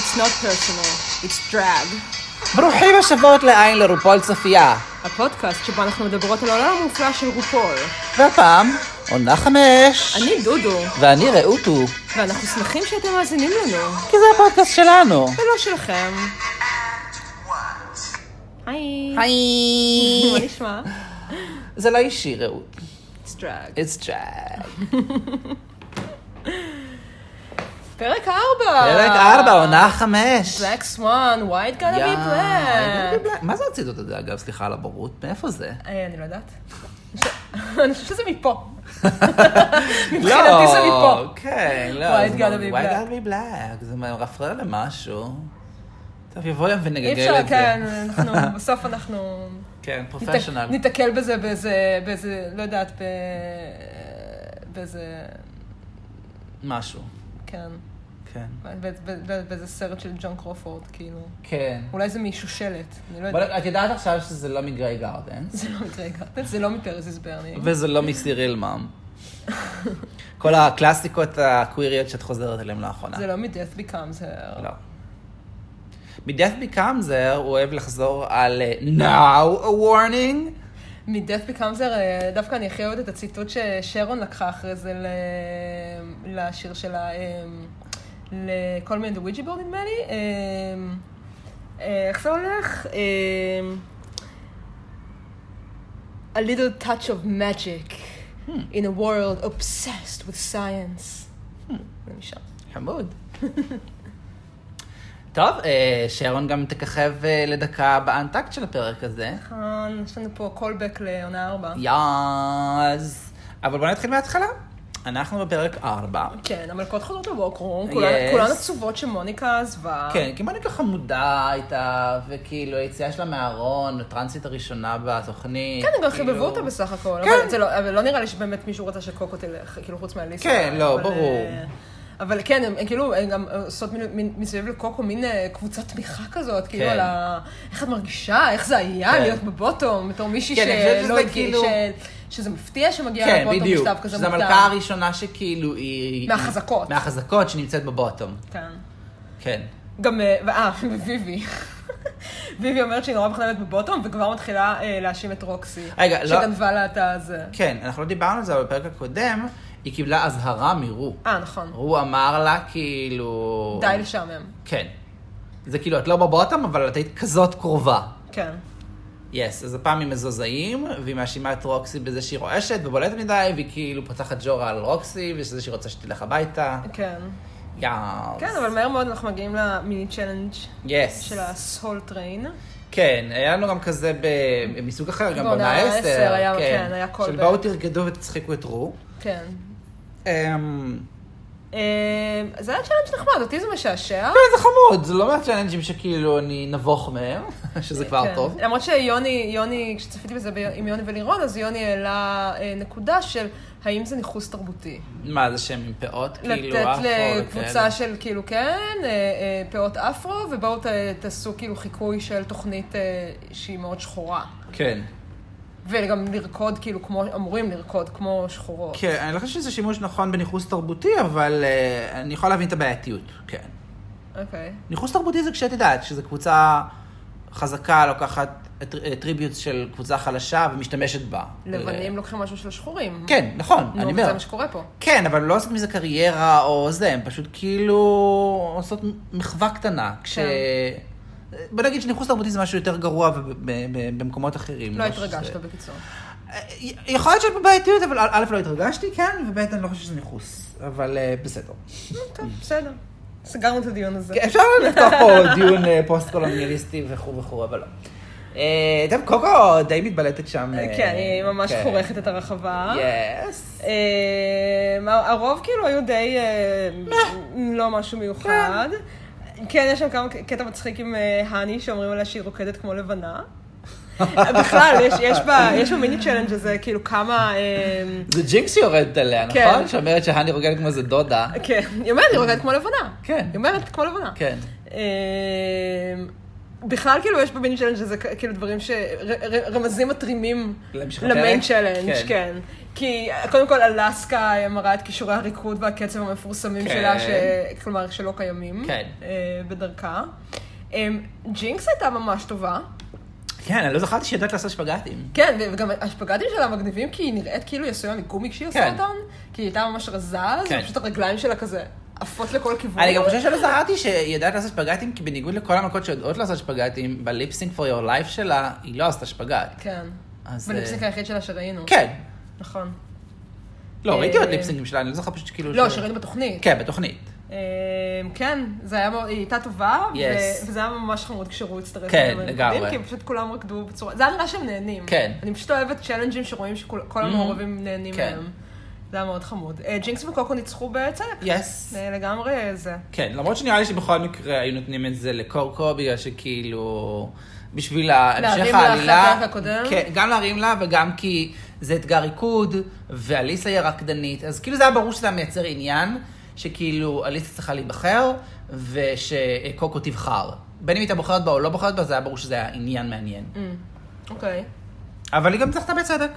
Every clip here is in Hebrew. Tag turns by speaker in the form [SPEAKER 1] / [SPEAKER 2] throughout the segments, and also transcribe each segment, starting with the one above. [SPEAKER 1] It's not personal, it's drag.
[SPEAKER 2] ברוכים השבועות לעין לרופול צפייה.
[SPEAKER 1] הפודקאסט שבו אנחנו מדברות על העולם המופלא של רופול.
[SPEAKER 2] והפעם, עונה חמש.
[SPEAKER 1] אני דודו,
[SPEAKER 2] ואני רעוטו,
[SPEAKER 1] ואנחנו שמחים שאתם מאזינים לנו,
[SPEAKER 2] כי זה הפודקאסט שלנו.
[SPEAKER 1] ולא שלכם. היי. מה
[SPEAKER 2] היי.
[SPEAKER 1] נשמע?
[SPEAKER 2] זה לא אישי, רעות.
[SPEAKER 1] It's drag.
[SPEAKER 2] It's drag.
[SPEAKER 1] פרק ארבע.
[SPEAKER 2] פרק ארבע, עונה חמש.
[SPEAKER 1] Black Swan, why it gonna
[SPEAKER 2] יא,
[SPEAKER 1] be
[SPEAKER 2] I gotta
[SPEAKER 1] black?
[SPEAKER 2] be black. מה זה הציטוט הזה, אגב? סליחה על הבורות. מאיפה זה?
[SPEAKER 1] אה, אני לא יודעת. אני חושבת שזה מפה. מבחינתי זה מפה.
[SPEAKER 2] לא, כן, לא.
[SPEAKER 1] Why
[SPEAKER 2] זה
[SPEAKER 1] it gotta
[SPEAKER 2] מה-
[SPEAKER 1] be
[SPEAKER 2] Why
[SPEAKER 1] black?
[SPEAKER 2] it gotta be black? זה מה- רפרר למשהו. טוב, יבוא יום
[SPEAKER 1] אי
[SPEAKER 2] ונגגל
[SPEAKER 1] אפשר,
[SPEAKER 2] את זה.
[SPEAKER 1] כן, אנחנו, בסוף אנחנו...
[SPEAKER 2] כן,
[SPEAKER 1] ניתק-
[SPEAKER 2] פרופשיונל.
[SPEAKER 1] ניתקל בזה באיזה, באיזה, לא יודעת, ב... באיזה,
[SPEAKER 2] משהו.
[SPEAKER 1] כן,
[SPEAKER 2] כן.
[SPEAKER 1] באיזה- באיזה באיזה סרט של ג'ון קרופורד, כאילו.
[SPEAKER 2] כן.
[SPEAKER 1] אולי זה משושלת, אני לא יודעת.
[SPEAKER 2] אבל את יודעת עכשיו שזה לא מגריי גארדנס,
[SPEAKER 1] זה לא מקרה גרטנס, זה לא מפרזיס ברני.
[SPEAKER 2] וזה לא מסיריל מאם. כל הקלאסיקות הקוויריות שאת חוזרת אליהן לאחרונה.
[SPEAKER 1] זה לא מ-Death Becomes Her.
[SPEAKER 2] לא. ב-Death Becomes Her הוא אוהב לחזור על אה, Now a warning.
[SPEAKER 1] מ-Death Becomes Her, אה, דווקא אני הכי אוהבת את הציטוט ששרון לקחה אחרי זה ל- לשיר שלה, אה, לכל מיני דוויג'י בורד נדמה לי. אה, אה, איך זה הולך? אה, A little touch of magic
[SPEAKER 2] Hmm.
[SPEAKER 1] in a world obsessed with science.
[SPEAKER 2] Hmm.
[SPEAKER 1] זה משם.
[SPEAKER 2] חמוד. טוב, אה, שרון גם תככב אה, לדקה באנטקט של הפרק הזה.
[SPEAKER 1] כאן יש לנו פה callback לעונה ארבע.
[SPEAKER 2] יאז. אבל בואו נתחיל מההתחלה. אנחנו בפרק 4.
[SPEAKER 1] כן, המלכות חוזרות לווקרום,
[SPEAKER 2] Yes.
[SPEAKER 1] כולן כולן עצובות שמוניקה עזבה.
[SPEAKER 2] כן, כי מוניקה חמודה הייתה, וכאילו היציאה שלה מהארון, הטרנסית הראשונה בתוכנית.
[SPEAKER 1] כן, הם גם
[SPEAKER 2] כאילו-
[SPEAKER 1] חיבבו אותה בסך הכל.
[SPEAKER 2] כן.
[SPEAKER 1] אבל זה לא- אבל לא נראה לי שבאמת מישהו רצה שקוקו תלך, כאילו, חוץ מהליסה.
[SPEAKER 2] כן, לא,
[SPEAKER 1] אבל,
[SPEAKER 2] ברור.
[SPEAKER 1] אה, אבל כן, הם- הם כאילו, הם גם עושות מין- מין- מסביב לקוקו מין אה, קבוצת תמיכה כזאת, כאילו,
[SPEAKER 2] כן.
[SPEAKER 1] על ה... איך את מרגישה, איך זה
[SPEAKER 2] כן.
[SPEAKER 1] היה להיות בבוטום, בתור מישהי
[SPEAKER 2] כן, אני חושבת
[SPEAKER 1] שלא
[SPEAKER 2] שזה
[SPEAKER 1] הגיע,
[SPEAKER 2] כאילו-
[SPEAKER 1] שזה מפתיע שמגיעה
[SPEAKER 2] כן,
[SPEAKER 1] לבוטום
[SPEAKER 2] בדיוק.
[SPEAKER 1] בשלב כזה
[SPEAKER 2] שזו
[SPEAKER 1] מוקדם.
[SPEAKER 2] המלכה הראשונה שכאילו היא...
[SPEAKER 1] מהחזקות.
[SPEAKER 2] מהחזקות שנמצאת בבוטום.
[SPEAKER 1] כן.
[SPEAKER 2] כן.
[SPEAKER 1] גם, אה, אה, וויבי. ויבי אומרת שהיא נורא מחלמת בבוטום, וכבר מתחילה אה, להאשים את רוקסי.
[SPEAKER 2] רגע, לא-
[SPEAKER 1] שגנבה לה את הזה.
[SPEAKER 2] כן, אנחנו לא דיברנו על זה, אבל בפרק הקודם היא קיבלה אזהרה מרו.
[SPEAKER 1] אה, נכון.
[SPEAKER 2] רו אמר לה כאילו...
[SPEAKER 1] די לשעמם.
[SPEAKER 2] כן. זה כאילו, את לא בבוטום, אבל את היית כזאת קרובה.
[SPEAKER 1] כן.
[SPEAKER 2] יס, yes, אז הפעם היא מזוזאים, והיא מאשימה את רוקסי בזה שהיא רועשת ובולטת מדי, והיא כאילו פותחת ג'ורה על רוקסי, וזה שהיא רוצה שתלך הביתה.
[SPEAKER 1] כן.
[SPEAKER 2] יאו.
[SPEAKER 1] כן, אבל מהר מאוד אנחנו מגיעים למיני צ'לנג'
[SPEAKER 2] יס.
[SPEAKER 1] של הסול טריין.
[SPEAKER 2] כן, היה לנו גם כזה ב- מסוג אחר, גם
[SPEAKER 1] בעונה
[SPEAKER 2] בעונה
[SPEAKER 1] עשר,
[SPEAKER 2] 10.
[SPEAKER 1] היה- כן, היה כל
[SPEAKER 2] של
[SPEAKER 1] ב-
[SPEAKER 2] בואו תרקדו ותצחיקו את רו.
[SPEAKER 1] כן.
[SPEAKER 2] אמ,
[SPEAKER 1] אה, זה היה צ'לנג' נחמד, אותי זה משעשע.
[SPEAKER 2] כן, זה חמוד, זה לא מהצ'אלנג'ים שכאילו אני נבוך מהם, שזה כבר
[SPEAKER 1] כן.
[SPEAKER 2] טוב.
[SPEAKER 1] למרות שיוני, יוני, כשצפיתי בזה ב- עם יוני ולירון, אז יוני העלה אה, נקודה של האם זה ניכוס תרבותי.
[SPEAKER 2] מה זה שם עם פאות? כאילו,
[SPEAKER 1] לתת
[SPEAKER 2] אפרו וכאלה.
[SPEAKER 1] לקבוצה של כאילו, כן, אה, אה, פאות אפרו, ובואו ת- תעשו כאילו חיקוי של תוכנית אה, שהיא מאוד שחורה.
[SPEAKER 2] כן.
[SPEAKER 1] וגם לרקוד כאילו כמו, אמורים לרקוד כמו שחורות.
[SPEAKER 2] כן, אני לא חושב שזה שימוש נכון בניכוס תרבותי, אבל אה, אני יכול להבין את הבעייתיות, כן.
[SPEAKER 1] אוקיי.
[SPEAKER 2] ניכוס תרבותי זה כשאת יודעת שזו קבוצה חזקה, לוקחת טריביוט של קבוצה חלשה ומשתמשת בה. אה,
[SPEAKER 1] לבנים לא- לוקחים משהו של שחורים.
[SPEAKER 2] כן, נכון,
[SPEAKER 1] נו,
[SPEAKER 2] אני
[SPEAKER 1] אבל זה
[SPEAKER 2] אומר.
[SPEAKER 1] מה שקורה פה.
[SPEAKER 2] כן, אבל לא עושות מזה קריירה או זה, הם פשוט כאילו עושות מחווה קטנה. כש... אה,
[SPEAKER 1] כן.
[SPEAKER 2] בוא נגיד שניכוס תרבותי זה משהו יותר גרוע וב- ב- ב- במקומות אחרים.
[SPEAKER 1] לא
[SPEAKER 2] שזה-
[SPEAKER 1] התרגשת בקיצור.
[SPEAKER 2] י- אה, יכול להיות שאת בבעייתיות, אבל א', לא התרגשתי, כן, וב', אני לא חושב שזה ניכוס, אבל אה, בסדר.
[SPEAKER 1] טוב, בסדר. סגרנו את הדיון הזה.
[SPEAKER 2] אפשר לפתוח פה דיון אה, פוסט-קולוניאליסטי וכו' וכו', אבל לא. אה, טוב, קוקו די מתבלטת שם. אה,
[SPEAKER 1] כן, אני ממש
[SPEAKER 2] כן.
[SPEAKER 1] חורכת אה? את הרחבה.
[SPEAKER 2] יס.
[SPEAKER 1] אמ, הרוב כאילו היו די אמ, לא משהו מיוחד. כן, יש שם כמה קטע מצחיק עם אה, האני, שאומרים עליה שהיא רוקדת כמו לבנה. אה, בכלל, יש- יש בה- יש במיני צ'לנג' הזה, כאילו כמה... אמ,
[SPEAKER 2] זה ג'ינקס שיורדת עליה,
[SPEAKER 1] כן.
[SPEAKER 2] נכון? שאומרת שהני רוגלת כמו איזה דודה.
[SPEAKER 1] כן, היא אומרת, היא רוקדת כמו לבנה.
[SPEAKER 2] כן.
[SPEAKER 1] היא אומרת, כמו לבנה.
[SPEAKER 2] כן.
[SPEAKER 1] אמ, בכלל, כאילו, יש במיני צ'אלנג' הזה כ- כאילו דברים ש... ר- ר- רמזים מתרימים
[SPEAKER 2] להמשך
[SPEAKER 1] למיין
[SPEAKER 2] הפרק?
[SPEAKER 1] צ'אלנג',
[SPEAKER 2] כן.
[SPEAKER 1] כן. כי קודם כל, אלסקה מראה את כישורי הריקוד והקצב המפורסמים
[SPEAKER 2] כן.
[SPEAKER 1] שלה, ש... כלומר, שלא קיימים.
[SPEAKER 2] כן.
[SPEAKER 1] אה, בדרכה. אה, ג'ינקס הייתה ממש טובה.
[SPEAKER 2] כן, אני לא זכרתי שהיא יודעת לעשות שפגטים.
[SPEAKER 1] כן, וגם השפגטים שלה מגניבים, כי היא נראית כאילו היא עשויה מגומי כשהיא עושה
[SPEAKER 2] כן.
[SPEAKER 1] אותם, כי היא הייתה ממש רזה, אז
[SPEAKER 2] כן.
[SPEAKER 1] פשוט הרגליים שלה כזה עפות לכל כיוון.
[SPEAKER 2] אני גם חושב שלא זכרתי שהיא יודעת לעשות שפגטים, כי בניגוד לכל המכות שיודעות לעשות שפגטים, בליפסינג for your life שלה, היא לא עשתה שפגט.
[SPEAKER 1] כן.
[SPEAKER 2] אז, אה,
[SPEAKER 1] בליפסינק היחיד שלה שראינו.
[SPEAKER 2] כן.
[SPEAKER 1] נכון.
[SPEAKER 2] לא,
[SPEAKER 1] אה,
[SPEAKER 2] ראיתי עוד ליפסינגים שלה, אני לא זוכר פשוט כאילו...
[SPEAKER 1] לא,
[SPEAKER 2] ש-
[SPEAKER 1] שראינו בתוכנית.
[SPEAKER 2] כן, בתוכנית.
[SPEAKER 1] אמ, כן, זה היה, מאוד- היא הייתה טובה, ו-
[SPEAKER 2] Yes.
[SPEAKER 1] וזה היה ממש חמוד כשהוא הצטרף.
[SPEAKER 2] כן,
[SPEAKER 1] אליהם לריקודים,
[SPEAKER 2] לגמרי.
[SPEAKER 1] כי הם פשוט כולם רקדו בצורה, זה היה נראה שהם נהנים.
[SPEAKER 2] כן. Mm-hmm.
[SPEAKER 1] אני פשוט אוהבת צ'אלנג'ים שרואים שכל המעורבים נהנים
[SPEAKER 2] כן.
[SPEAKER 1] מהם. זה היה מאוד חמוד. אה, ג'ינקס וקוקו ניצחו בצדק.
[SPEAKER 2] יס.
[SPEAKER 1] זה לגמרי זה.
[SPEAKER 2] כן, למרות שנראה לי שבכל מקרה היו נותנים את זה לקורקו, בגלל שכאילו, בשביל המשך
[SPEAKER 1] להרים לה
[SPEAKER 2] העלילה.
[SPEAKER 1] אחרי הפרק הקודם?
[SPEAKER 2] כן, גם להרים לה וגם כי זה אתגר ריקוד, ואליסה היא הרקדנית, אז כאילו זה היה ברור שזה היה מייצר עניין, שכאילו אליסה צריכה להיבחר, ושקוקו תבחר. בין אם הייתה בוחרת בה או לא בוחרת בה, זה היה ברור שזה היה עניין מעניין.
[SPEAKER 1] אמ, אוקיי.
[SPEAKER 2] אבל היא גם זכתה בצדק.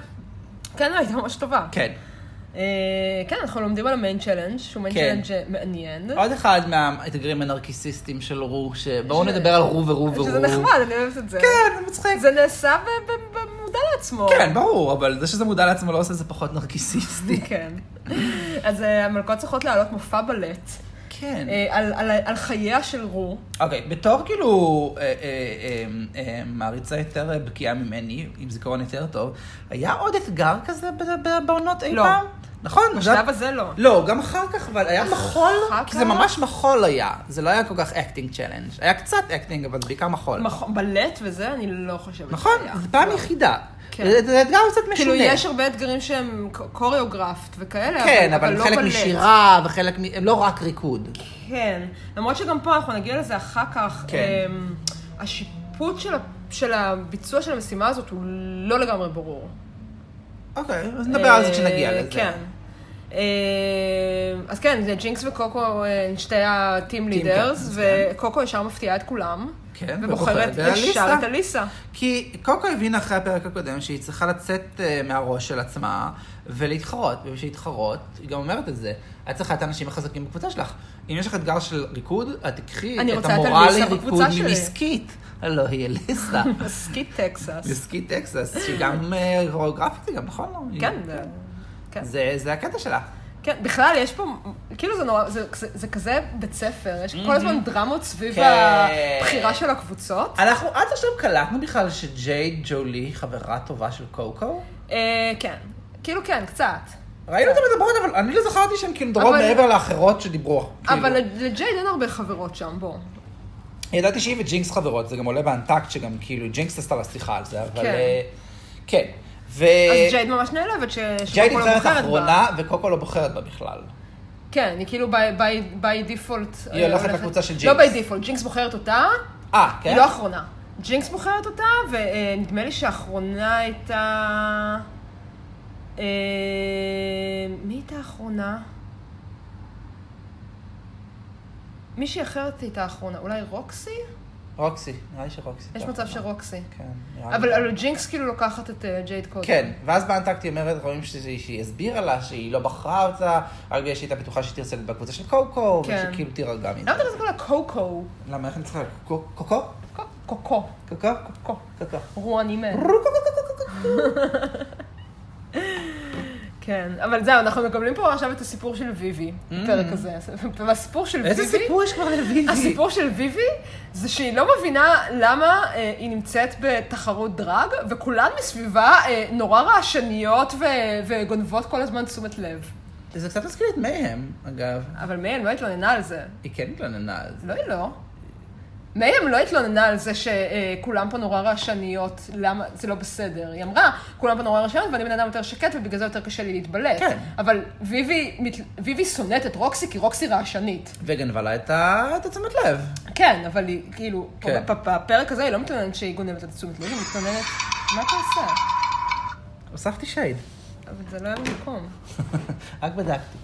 [SPEAKER 1] כן, הייתה ממש טובה.
[SPEAKER 2] כן.
[SPEAKER 1] אה, כן, אנחנו לומדים על המיין צ'אלנג', שהוא מיין
[SPEAKER 2] כן.
[SPEAKER 1] צ'אלנג' אה, מעניין.
[SPEAKER 2] עוד אחד מהאתגרים הנרקיסיסטים של רו, שבואו
[SPEAKER 1] ש-
[SPEAKER 2] נדבר על רו ורו ורו.
[SPEAKER 1] שזה נחמד, אני אוהבת את זה.
[SPEAKER 2] כן, זה מצחיק.
[SPEAKER 1] זה נעשה ב- ב- במודע לעצמו.
[SPEAKER 2] כן, ברור, אבל זה שזה מודע לעצמו לא עושה את זה פחות נרקיסיסטי.
[SPEAKER 1] כן. אז אה, המלכות צריכות להעלות מופע בלט
[SPEAKER 2] כן.
[SPEAKER 1] אה, על- על- על חייה של רו.
[SPEAKER 2] אוקיי, בתור כאילו אה, אה, אה, אה, מעריצה יותר אה, בקיאה ממני, עם זיכרון יותר טוב, היה עוד אתגר כזה ב- ב- בעונות אי
[SPEAKER 1] לא.
[SPEAKER 2] פעם? נכון?
[SPEAKER 1] בשלב
[SPEAKER 2] זה-
[SPEAKER 1] הזה לא.
[SPEAKER 2] לא, גם אחר כך, אבל היה מחול,
[SPEAKER 1] אחר
[SPEAKER 2] כי זה
[SPEAKER 1] כך?
[SPEAKER 2] ממש מחול היה. זה לא היה כל כך אקטינג צ'לנג'. היה קצת אקטינג, אבל בעיקר מחול.
[SPEAKER 1] מכ- בלט וזה, אני לא חושבת
[SPEAKER 2] נכון,
[SPEAKER 1] שהיה.
[SPEAKER 2] זו פעם יחידה.
[SPEAKER 1] כן.
[SPEAKER 2] זה זה אתגר קצת משונה.
[SPEAKER 1] כאילו, יש הרבה אתגרים שהם ק- קוריאוגרפט וכאלה,
[SPEAKER 2] כן, אבל
[SPEAKER 1] לא
[SPEAKER 2] חלק
[SPEAKER 1] בלט.
[SPEAKER 2] משירה וחלק מ... לא רק ריקוד.
[SPEAKER 1] כן, למרות שגם פה אנחנו נגיע לזה אחר כך.
[SPEAKER 2] כן.
[SPEAKER 1] אמ, השיפוט של ה- של הביצוע של המשימה הזאת הוא לא לגמרי ברור.
[SPEAKER 2] אוקיי, אז נדבר על זה
[SPEAKER 1] אה,
[SPEAKER 2] כשנגיע לזה.
[SPEAKER 1] כן. אה, אז כן, זה ג'ינקס וקוקו אה, הן שתי הטים לידרס,
[SPEAKER 2] כן.
[SPEAKER 1] וקוקו ישר מפתיעה את כולם.
[SPEAKER 2] כן, ובוחרת
[SPEAKER 1] ובוחרת ישר
[SPEAKER 2] באליסה.
[SPEAKER 1] את אליסה.
[SPEAKER 2] כי קוקו הבינה אחרי הפרק הקודם שהיא צריכה לצאת אה, מהראש של עצמה ולהתחרות, ובשביל להתחרות, היא גם אומרת את זה, את צריכה את האנשים החזקים בקבוצה שלך. אם יש לך אתגר של ריקוד, את תקחי
[SPEAKER 1] אני
[SPEAKER 2] את
[SPEAKER 1] רוצה את
[SPEAKER 2] המורה
[SPEAKER 1] אליסה
[SPEAKER 2] לריקוד
[SPEAKER 1] בקבוצה שלי.
[SPEAKER 2] ממשקית. לא, היא אליסה.
[SPEAKER 1] מסקית טקסס.
[SPEAKER 2] משקית טקסס, שהיא גם אה, כוריאוגרפית, היא גם נכון? לא? היא-
[SPEAKER 1] כן, זה- כן.
[SPEAKER 2] זה זה הקטע שלה.
[SPEAKER 1] כן, בכלל יש פה, כאילו זה נורא, זה, זה, זה כזה בית ספר, יש כל הזמן דרמות סביב
[SPEAKER 2] כן.
[SPEAKER 1] הבחירה של הקבוצות.
[SPEAKER 2] אנחנו עד עכשיו קלטנו בכלל שג'ייד ג'ולי היא חברה טובה של קוקו.
[SPEAKER 1] אה, כן, כאילו כן, קצת.
[SPEAKER 2] ראינו אותן מדברות, אבל אני לא זכרתי שהן כאילו מדברות
[SPEAKER 1] אבל-
[SPEAKER 2] מעבר לאחרות שדיברו.
[SPEAKER 1] אבל
[SPEAKER 2] כאילו.
[SPEAKER 1] לג'ייד אין הרבה חברות שם, בוא.
[SPEAKER 2] ידעתי שהיא וג'ינקס חברות, זה גם עולה באנטקט, שגם כאילו ג'ינקס עשתה לה שיחה על זה, אבל...
[SPEAKER 1] כן.
[SPEAKER 2] אה, כן. ו...
[SPEAKER 1] אז ג'ייד ממש נעלבת ש...
[SPEAKER 2] ג'ייד
[SPEAKER 1] שקוקו לא
[SPEAKER 2] נמצאת
[SPEAKER 1] בוחרת בה.
[SPEAKER 2] האחרונה, וקוקו לא בוחרת בה בכלל.
[SPEAKER 1] כן, היא כאילו by- by- by default.
[SPEAKER 2] היא הולכת לקבוצה של
[SPEAKER 1] לא
[SPEAKER 2] ג'ינקס.
[SPEAKER 1] by default, ג'ינקס בוחרת אותה,
[SPEAKER 2] אה, כן?
[SPEAKER 1] היא לא אחרונה. ג'ינקס בוחרת אותה, ונדמה לי שהאחרונה הייתה... אה, מי הייתה האחרונה? מישהי אחרת הייתה האחרונה, אולי רוקסי?
[SPEAKER 2] רוקסי, נראה לי שרוקסי.
[SPEAKER 1] יש
[SPEAKER 2] לא.
[SPEAKER 1] מצב שרוקסי.
[SPEAKER 2] כן, נראה לי.
[SPEAKER 1] אבל אבל ג'ינקס כאילו לוקחת את אה, ג'ייד קודם.
[SPEAKER 2] כן, ואז באנטקט היא אומרת, רואים שזה- שהיא הסבירה לה שהיא לא בחרה אותה, רק בגלל שהיא הייתה בטוחה שהיא תרצה להיות בקבוצה של קוקו,
[SPEAKER 1] כן.
[SPEAKER 2] ושכאילו תירגע מזה.
[SPEAKER 1] למה אתה קורא לה קוקו?
[SPEAKER 2] למה, איך אני צריכה? קוקו? קוקו?
[SPEAKER 1] קוקו. קוקו.
[SPEAKER 2] קוקו?
[SPEAKER 1] קוקו.
[SPEAKER 2] קוקו.
[SPEAKER 1] רועני מת. כן, אבל זהו, אנחנו מקבלים פה עכשיו את הסיפור של ויבי, בפרק הזה. והסיפור של
[SPEAKER 2] Mm. איזה
[SPEAKER 1] ויבי...
[SPEAKER 2] סיפור יש כבר לביבי?
[SPEAKER 1] הסיפור של ויבי זה שהיא לא מבינה למה אה, היא נמצאת בתחרות דרג, וכולן מסביבה אה, נורא רעשניות ו- וגונבות כל הזמן תשומת לב.
[SPEAKER 2] זה קצת מזכיר את מהם, אגב.
[SPEAKER 1] אבל מאי, הם לא התלוננה על זה.
[SPEAKER 2] היא כן התלוננה על זה.
[SPEAKER 1] לא, היא לא. מרים לא התלוננה על זה שכולם פה נורא רעשניות, למה זה לא בסדר. היא אמרה, כולם פה נורא רעשניות ואני בן אדם יותר שקט ובגלל זה יותר קשה לי להתבלט.
[SPEAKER 2] כן.
[SPEAKER 1] אבל ויבי, מת- ויבי שונאת את רוקסי כי רוקסי רעשנית.
[SPEAKER 2] וגנבה לה את ה- את התשומת לב.
[SPEAKER 1] כן, אבל היא, כאילו, פה
[SPEAKER 2] כן.
[SPEAKER 1] בפ- בפרק הזה היא לא מתלוננת שהיא גונבת את תשומת לב, היא מתלוננת, מה אתה עושה?
[SPEAKER 2] הוספתי שייד.
[SPEAKER 1] אבל זה לא היה במקום.
[SPEAKER 2] רק בדקתי.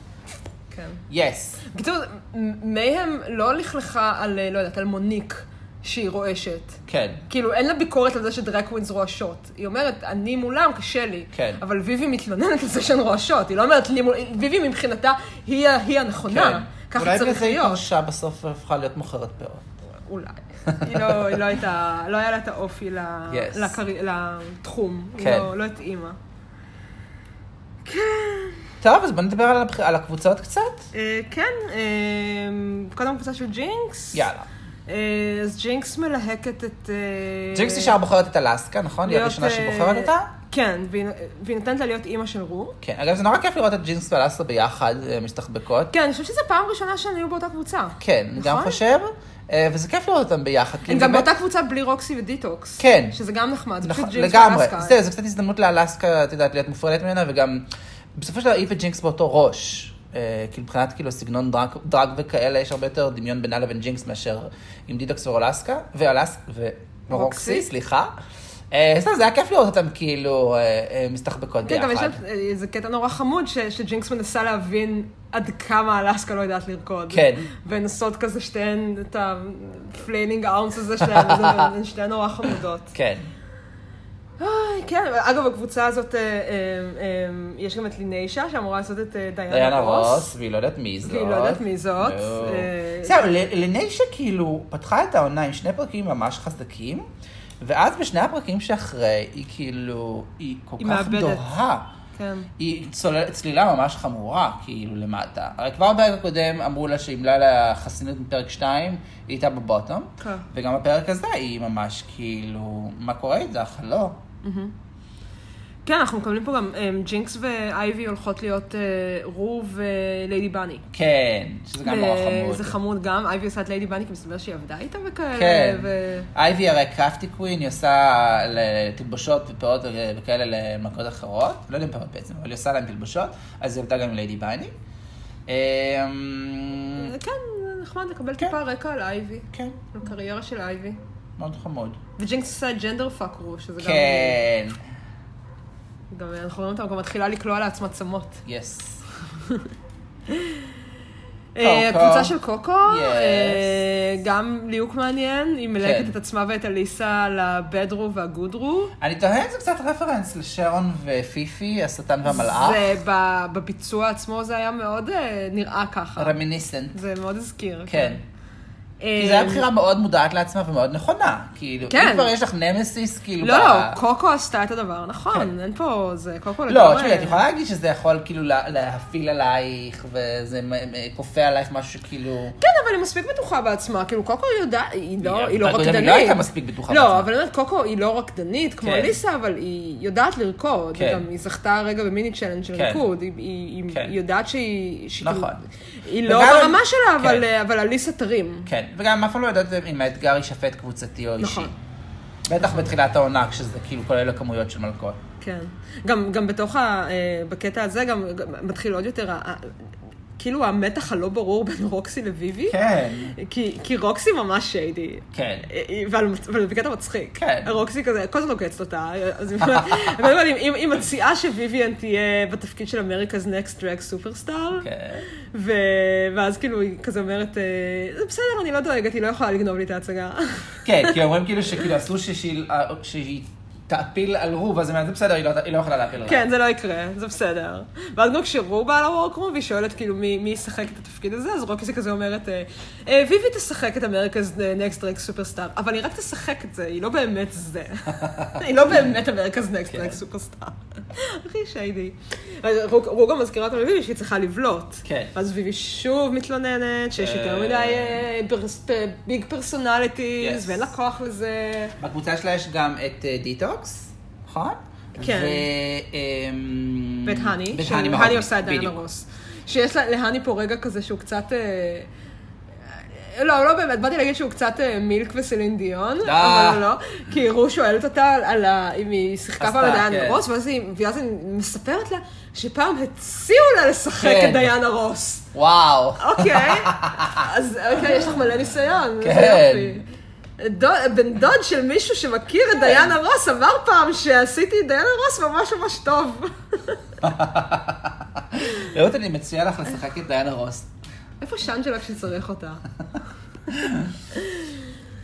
[SPEAKER 1] כן.
[SPEAKER 2] יס.
[SPEAKER 1] בקיצור, מ- מהם לא לכלכה על, אה, לא יודעת, על מוניק שהיא רועשת.
[SPEAKER 2] כן.
[SPEAKER 1] כאילו, אין לה ביקורת על זה שדרקווינס רועשות. היא אומרת, אני מולם, קשה לי.
[SPEAKER 2] כן.
[SPEAKER 1] אבל ויבי מתלוננת על זה שהן רועשות. היא לא אומרת לי מול... ויבי מבחינתה, היא, ה- היא הנכונה. ככה
[SPEAKER 2] כן. אולי
[SPEAKER 1] צריך
[SPEAKER 2] בזה היא
[SPEAKER 1] להיות.
[SPEAKER 2] פרשה בסוף והפכה להיות מוכרת פירות.
[SPEAKER 1] אולי. היא לא, היא לא הייתה, לא היה לה את האופי ל,
[SPEAKER 2] Yes.
[SPEAKER 1] לקר... לתחום.
[SPEAKER 2] כן.
[SPEAKER 1] היא לא, לא התאימה.
[SPEAKER 2] טוב, אז בוא נדבר על, הבח... על הקבוצות קצת.
[SPEAKER 1] אה, כן, אה, קודם קבוצה של ג'ינקס.
[SPEAKER 2] יאללה.
[SPEAKER 1] אה, אז ג'ינקס מלהקת את... אה,
[SPEAKER 2] ג'ינקס נשאר בוחרת את אלסקה, נכון? היא
[SPEAKER 1] להיות,
[SPEAKER 2] הראשונה
[SPEAKER 1] אה,
[SPEAKER 2] שבוחרת אותה?
[SPEAKER 1] כן, והיא- והיא נותנת לה להיות אימא של רו.
[SPEAKER 2] כן. אגב, זה נורא כיף לראות את ג'ינקס ואלסקה ביחד, אה, משתחבקות.
[SPEAKER 1] כן, אני חושבת שזו פעם ראשונה שהן היו באותה קבוצה.
[SPEAKER 2] כן, גם
[SPEAKER 1] נכון?
[SPEAKER 2] חושב. אה, וזה כיף לראות אותם ביחד. כי
[SPEAKER 1] הן
[SPEAKER 2] זה
[SPEAKER 1] גם
[SPEAKER 2] באמת-
[SPEAKER 1] באותה קבוצה בלי רוקסי ודטוקס.
[SPEAKER 2] כן.
[SPEAKER 1] שזה גם נחמד, זה
[SPEAKER 2] נכון,
[SPEAKER 1] פשוט ג'ינקס
[SPEAKER 2] לגמרי.
[SPEAKER 1] ואלסקה.
[SPEAKER 2] זהו, זו קצת הזדמנות לאלסקה, את יודעת, להיות מופרדת ממנה, וגם בסופו של דבר היא וג'ינקס באותו ראש. אה, כי מבחינת כאילו סגנון דרג, דרג וכאלה, יש הרבה יותר דמיון בינה לבין ג'ינקס מאשר עם דידוקס ואולסקה, ואלס... ורוקסי,
[SPEAKER 1] רוקסי.
[SPEAKER 2] סליחה. אה, סתם, זה היה כיף לראות אותם כאילו אה, אה, מסתחבקות
[SPEAKER 1] כן, גם יש
[SPEAKER 2] ביחד.
[SPEAKER 1] שם אה, איזה קטע נורא חמוד ש- שג'ינקס מנסה להבין עד כמה אלסקה לא יודעת לרקוד.
[SPEAKER 2] כן.
[SPEAKER 1] והן עושות כזה שתיהן את הפליינינג ארמס הזה שלהן, אז הן הן שתיהן נורא חמודות.
[SPEAKER 2] כן,
[SPEAKER 1] אוי, כן, אגב, בקבוצה הזאת, אה, אה, אה, יש גם את לינישה, שאמורה לעשות את אה,
[SPEAKER 2] דיאנה
[SPEAKER 1] דיאנה
[SPEAKER 2] רוס,
[SPEAKER 1] רוס.
[SPEAKER 2] והיא לא יודעת מי זאת.
[SPEAKER 1] והיא לא יודעת מי זאת.
[SPEAKER 2] לא.
[SPEAKER 1] אה,
[SPEAKER 2] זהו, ל- לניישה כאילו פתחה את העונה עם שני פרקים ממש חזקים, ואז בשני הפרקים שאחרי, היא כאילו, היא כל
[SPEAKER 1] היא
[SPEAKER 2] כך
[SPEAKER 1] מאבדת.
[SPEAKER 2] דוהה.
[SPEAKER 1] כן.
[SPEAKER 2] היא צולל, צלילה ממש חמורה, כאילו, למטה. הרי כבר בפרק הקודם אמרו לה שאם לא היה לה חסינות מפרק 2, היא הייתה בבוטום.
[SPEAKER 1] כן.
[SPEAKER 2] וגם בפרק הזה היא ממש כאילו, מה קורה איתך? לא.
[SPEAKER 1] כן, אנחנו מקבלים פה גם אה, ג'ינקס ואייבי הולכות להיות אה, רו וליידי בני.
[SPEAKER 2] כן, שזה גם נורא
[SPEAKER 1] ו-
[SPEAKER 2] חמוד.
[SPEAKER 1] זה חמוד גם, אייבי עושה את ליידי בני, כי מסתבר שהיא עבדה איתה וכאלה.
[SPEAKER 2] כן.
[SPEAKER 1] ו-
[SPEAKER 2] אייבי הרי קרפטי קווין, היא עושה תלבושות ופאות וכאלה למכות אחרות, לא יודעים פאות בעצם, אבל היא עושה להם תלבושות, אז היא עבדה גם עם ליידי בייני. אמ,
[SPEAKER 1] כן, זה נחמד לקבל
[SPEAKER 2] כן.
[SPEAKER 1] טיפה רקע על אייבי.
[SPEAKER 2] כן,
[SPEAKER 1] על הקריירה של אייבי.
[SPEAKER 2] מאוד חמוד.
[SPEAKER 1] וג'ינקס עושה ג'נדר פאק רו, שזה גם...
[SPEAKER 2] כן,
[SPEAKER 1] גם אה, אנחנו רואים אותה, גם מתחילה לקלוע לעצמה צמות.
[SPEAKER 2] יס.
[SPEAKER 1] אה,
[SPEAKER 2] קוקו.
[SPEAKER 1] הקבוצה של קוקו,
[SPEAKER 2] Yes.
[SPEAKER 1] אה, גם ליהוק מעניין, היא
[SPEAKER 2] כן.
[SPEAKER 1] מלהקת את עצמה ואת אליסה לבדרו והגודרו.
[SPEAKER 2] אני תוהה אם זה קצת רפרנס לשרון ופיפי, השטן והמלאך.
[SPEAKER 1] זה ב- בביצוע עצמו זה היה מאוד אה, נראה ככה.
[SPEAKER 2] רמיניסנט,
[SPEAKER 1] זה מאוד הזכיר.
[SPEAKER 2] כן.
[SPEAKER 1] אה,
[SPEAKER 2] כי זו הייתה בחירה מאוד מודעת לעצמה ומאוד נכונה. כאילו,
[SPEAKER 1] כן.
[SPEAKER 2] אם כבר יש לך נמסיס, כאילו...
[SPEAKER 1] לא,
[SPEAKER 2] ב-
[SPEAKER 1] לא, קוקו עשתה את הדבר,
[SPEAKER 2] כן.
[SPEAKER 1] נכון, אין פה, זה קוקו
[SPEAKER 2] לא, תשמעי, את יכולה להגיד שזה יכול כאילו לה- להפעיל עלייך, וזה מ- מ- כופה עלייך משהו כאילו, שכאילו...
[SPEAKER 1] כן, אבל היא מספיק בטוחה בעצמה, כאילו קוקו היא יודעת, היא לא, היא לא
[SPEAKER 2] בפרק הקודם
[SPEAKER 1] רקדנית.
[SPEAKER 2] היא לא הייתה מספיק בטוחה בעצמה.
[SPEAKER 1] לא, אבל אני אומרת, קוקו היא לא רקדנית, כמו
[SPEAKER 2] כן.
[SPEAKER 1] אליסה, אבל היא יודעת לרקוד.
[SPEAKER 2] כן.
[SPEAKER 1] היא גם, היא זכתה הרגע במיני צ'אלנג' של
[SPEAKER 2] כן.
[SPEAKER 1] ריקוד, היא- היא
[SPEAKER 2] כן.
[SPEAKER 1] היא יודעת שהיא... שהיא
[SPEAKER 2] נכון.
[SPEAKER 1] כאילו- היא לא
[SPEAKER 2] וגם-
[SPEAKER 1] ברמה שלה, אבל- אה,
[SPEAKER 2] כן.
[SPEAKER 1] אבל אליסה תרים.
[SPEAKER 2] כן, וגם אף פעם לא יודעת אם האתגר יישפט קבוצתי או אישי.
[SPEAKER 1] נכון.
[SPEAKER 2] בטח בתחילת העונה, כשזה כאילו כולל הכמויות של מלכות.
[SPEAKER 1] כן. גם, גם בתוך ה... אה, בקטע הזה גם גם מתחיל עוד יותר, ה- ה- כאילו המתח הלא ברור בין רוקסי לוויבי.
[SPEAKER 2] כן.
[SPEAKER 1] כי, כי רוקסי ממש שיידי.
[SPEAKER 2] כן.
[SPEAKER 1] אבל, אבל בקטע מצחיק.
[SPEAKER 2] כן.
[SPEAKER 1] רוקסי כזה, כל הזמן עוקצת אותה. אז היא אומרת- אבל היא אומרת, היא- היא מציעה שוויביאן תהיה בתפקיד של אמריקה's Next Drag Superstar.
[SPEAKER 2] כן.
[SPEAKER 1] ו... ואז כאילו היא כזה אומרת, אה, "זה בסדר, אני לא דואגת, היא לא יכולה לגנוב לי את ההצגה.
[SPEAKER 2] כן, כי אומרים כאילו שכאילו אסור ששיל- שהיא תעפיל על רוב, אז היא אומרת, זה בסדר, היא לא- היא לא יכולה להפיל עליו.
[SPEAKER 1] כן, זה לא יקרה, זה בסדר. ואז גם כשרו בא לוורקרום והיא שואלת כאילו מי, מי ישחק את התפקיד הזה, אז רוקסי כזה אומרת, אה, אה, ויבי תשחק את אמריקה's Next Drag Superstar, אבל היא רק תשחק את זה, היא לא באמת זה. היא לא באמת אמריקה's Next
[SPEAKER 2] כן.
[SPEAKER 1] Drag Superstar. הכי שיידי. אז רו רו גם מזכירה אותה לביבי שהיא צריכה לבלוט.
[SPEAKER 2] כן.
[SPEAKER 1] אז ויבי שוב מתלוננת שיש יותר
[SPEAKER 2] אה.
[SPEAKER 1] מדי ביג פרסונליטיז,
[SPEAKER 2] Yes.
[SPEAKER 1] ואין לה כוח לזה.
[SPEAKER 2] בקבוצה שלה יש גם את אה, דיטוקס, נכון?
[SPEAKER 1] כן.
[SPEAKER 2] ו- אמ,
[SPEAKER 1] ואת הני,
[SPEAKER 2] ואת
[SPEAKER 1] שהני
[SPEAKER 2] מהובי,
[SPEAKER 1] עושה את דנה
[SPEAKER 2] בדיוק.
[SPEAKER 1] רוס. שיש לה- להני פה רגע כזה שהוא קצת... אה, לא, לא באמת, באתי להגיד שהוא קצת אה, מילק וסלין דיון,
[SPEAKER 2] אה.
[SPEAKER 1] אבל לא, כי רו שואלת אותה על- על ה- אם היא שיחקה
[SPEAKER 2] עשתה,
[SPEAKER 1] פעם את
[SPEAKER 2] כן.
[SPEAKER 1] דיאנה רוס, ואז היא ואז היא מספרת לה שפעם הציעו לה לשחק
[SPEAKER 2] כן.
[SPEAKER 1] את דיאנה רוס.
[SPEAKER 2] וואו.
[SPEAKER 1] אוקיי, אז אוקיי, יש לך מלא ניסיון, זה
[SPEAKER 2] כן.
[SPEAKER 1] יופי. דוד- בן דוד של מישהו שמכיר את דיאנה רוס אמר פעם שעשיתי את דיאנה רוס ממש ממש טוב.
[SPEAKER 2] רעות, אני מציע לך לשחק את דיאנה רוס.
[SPEAKER 1] איפה שאנג'לה כשצריך אותה?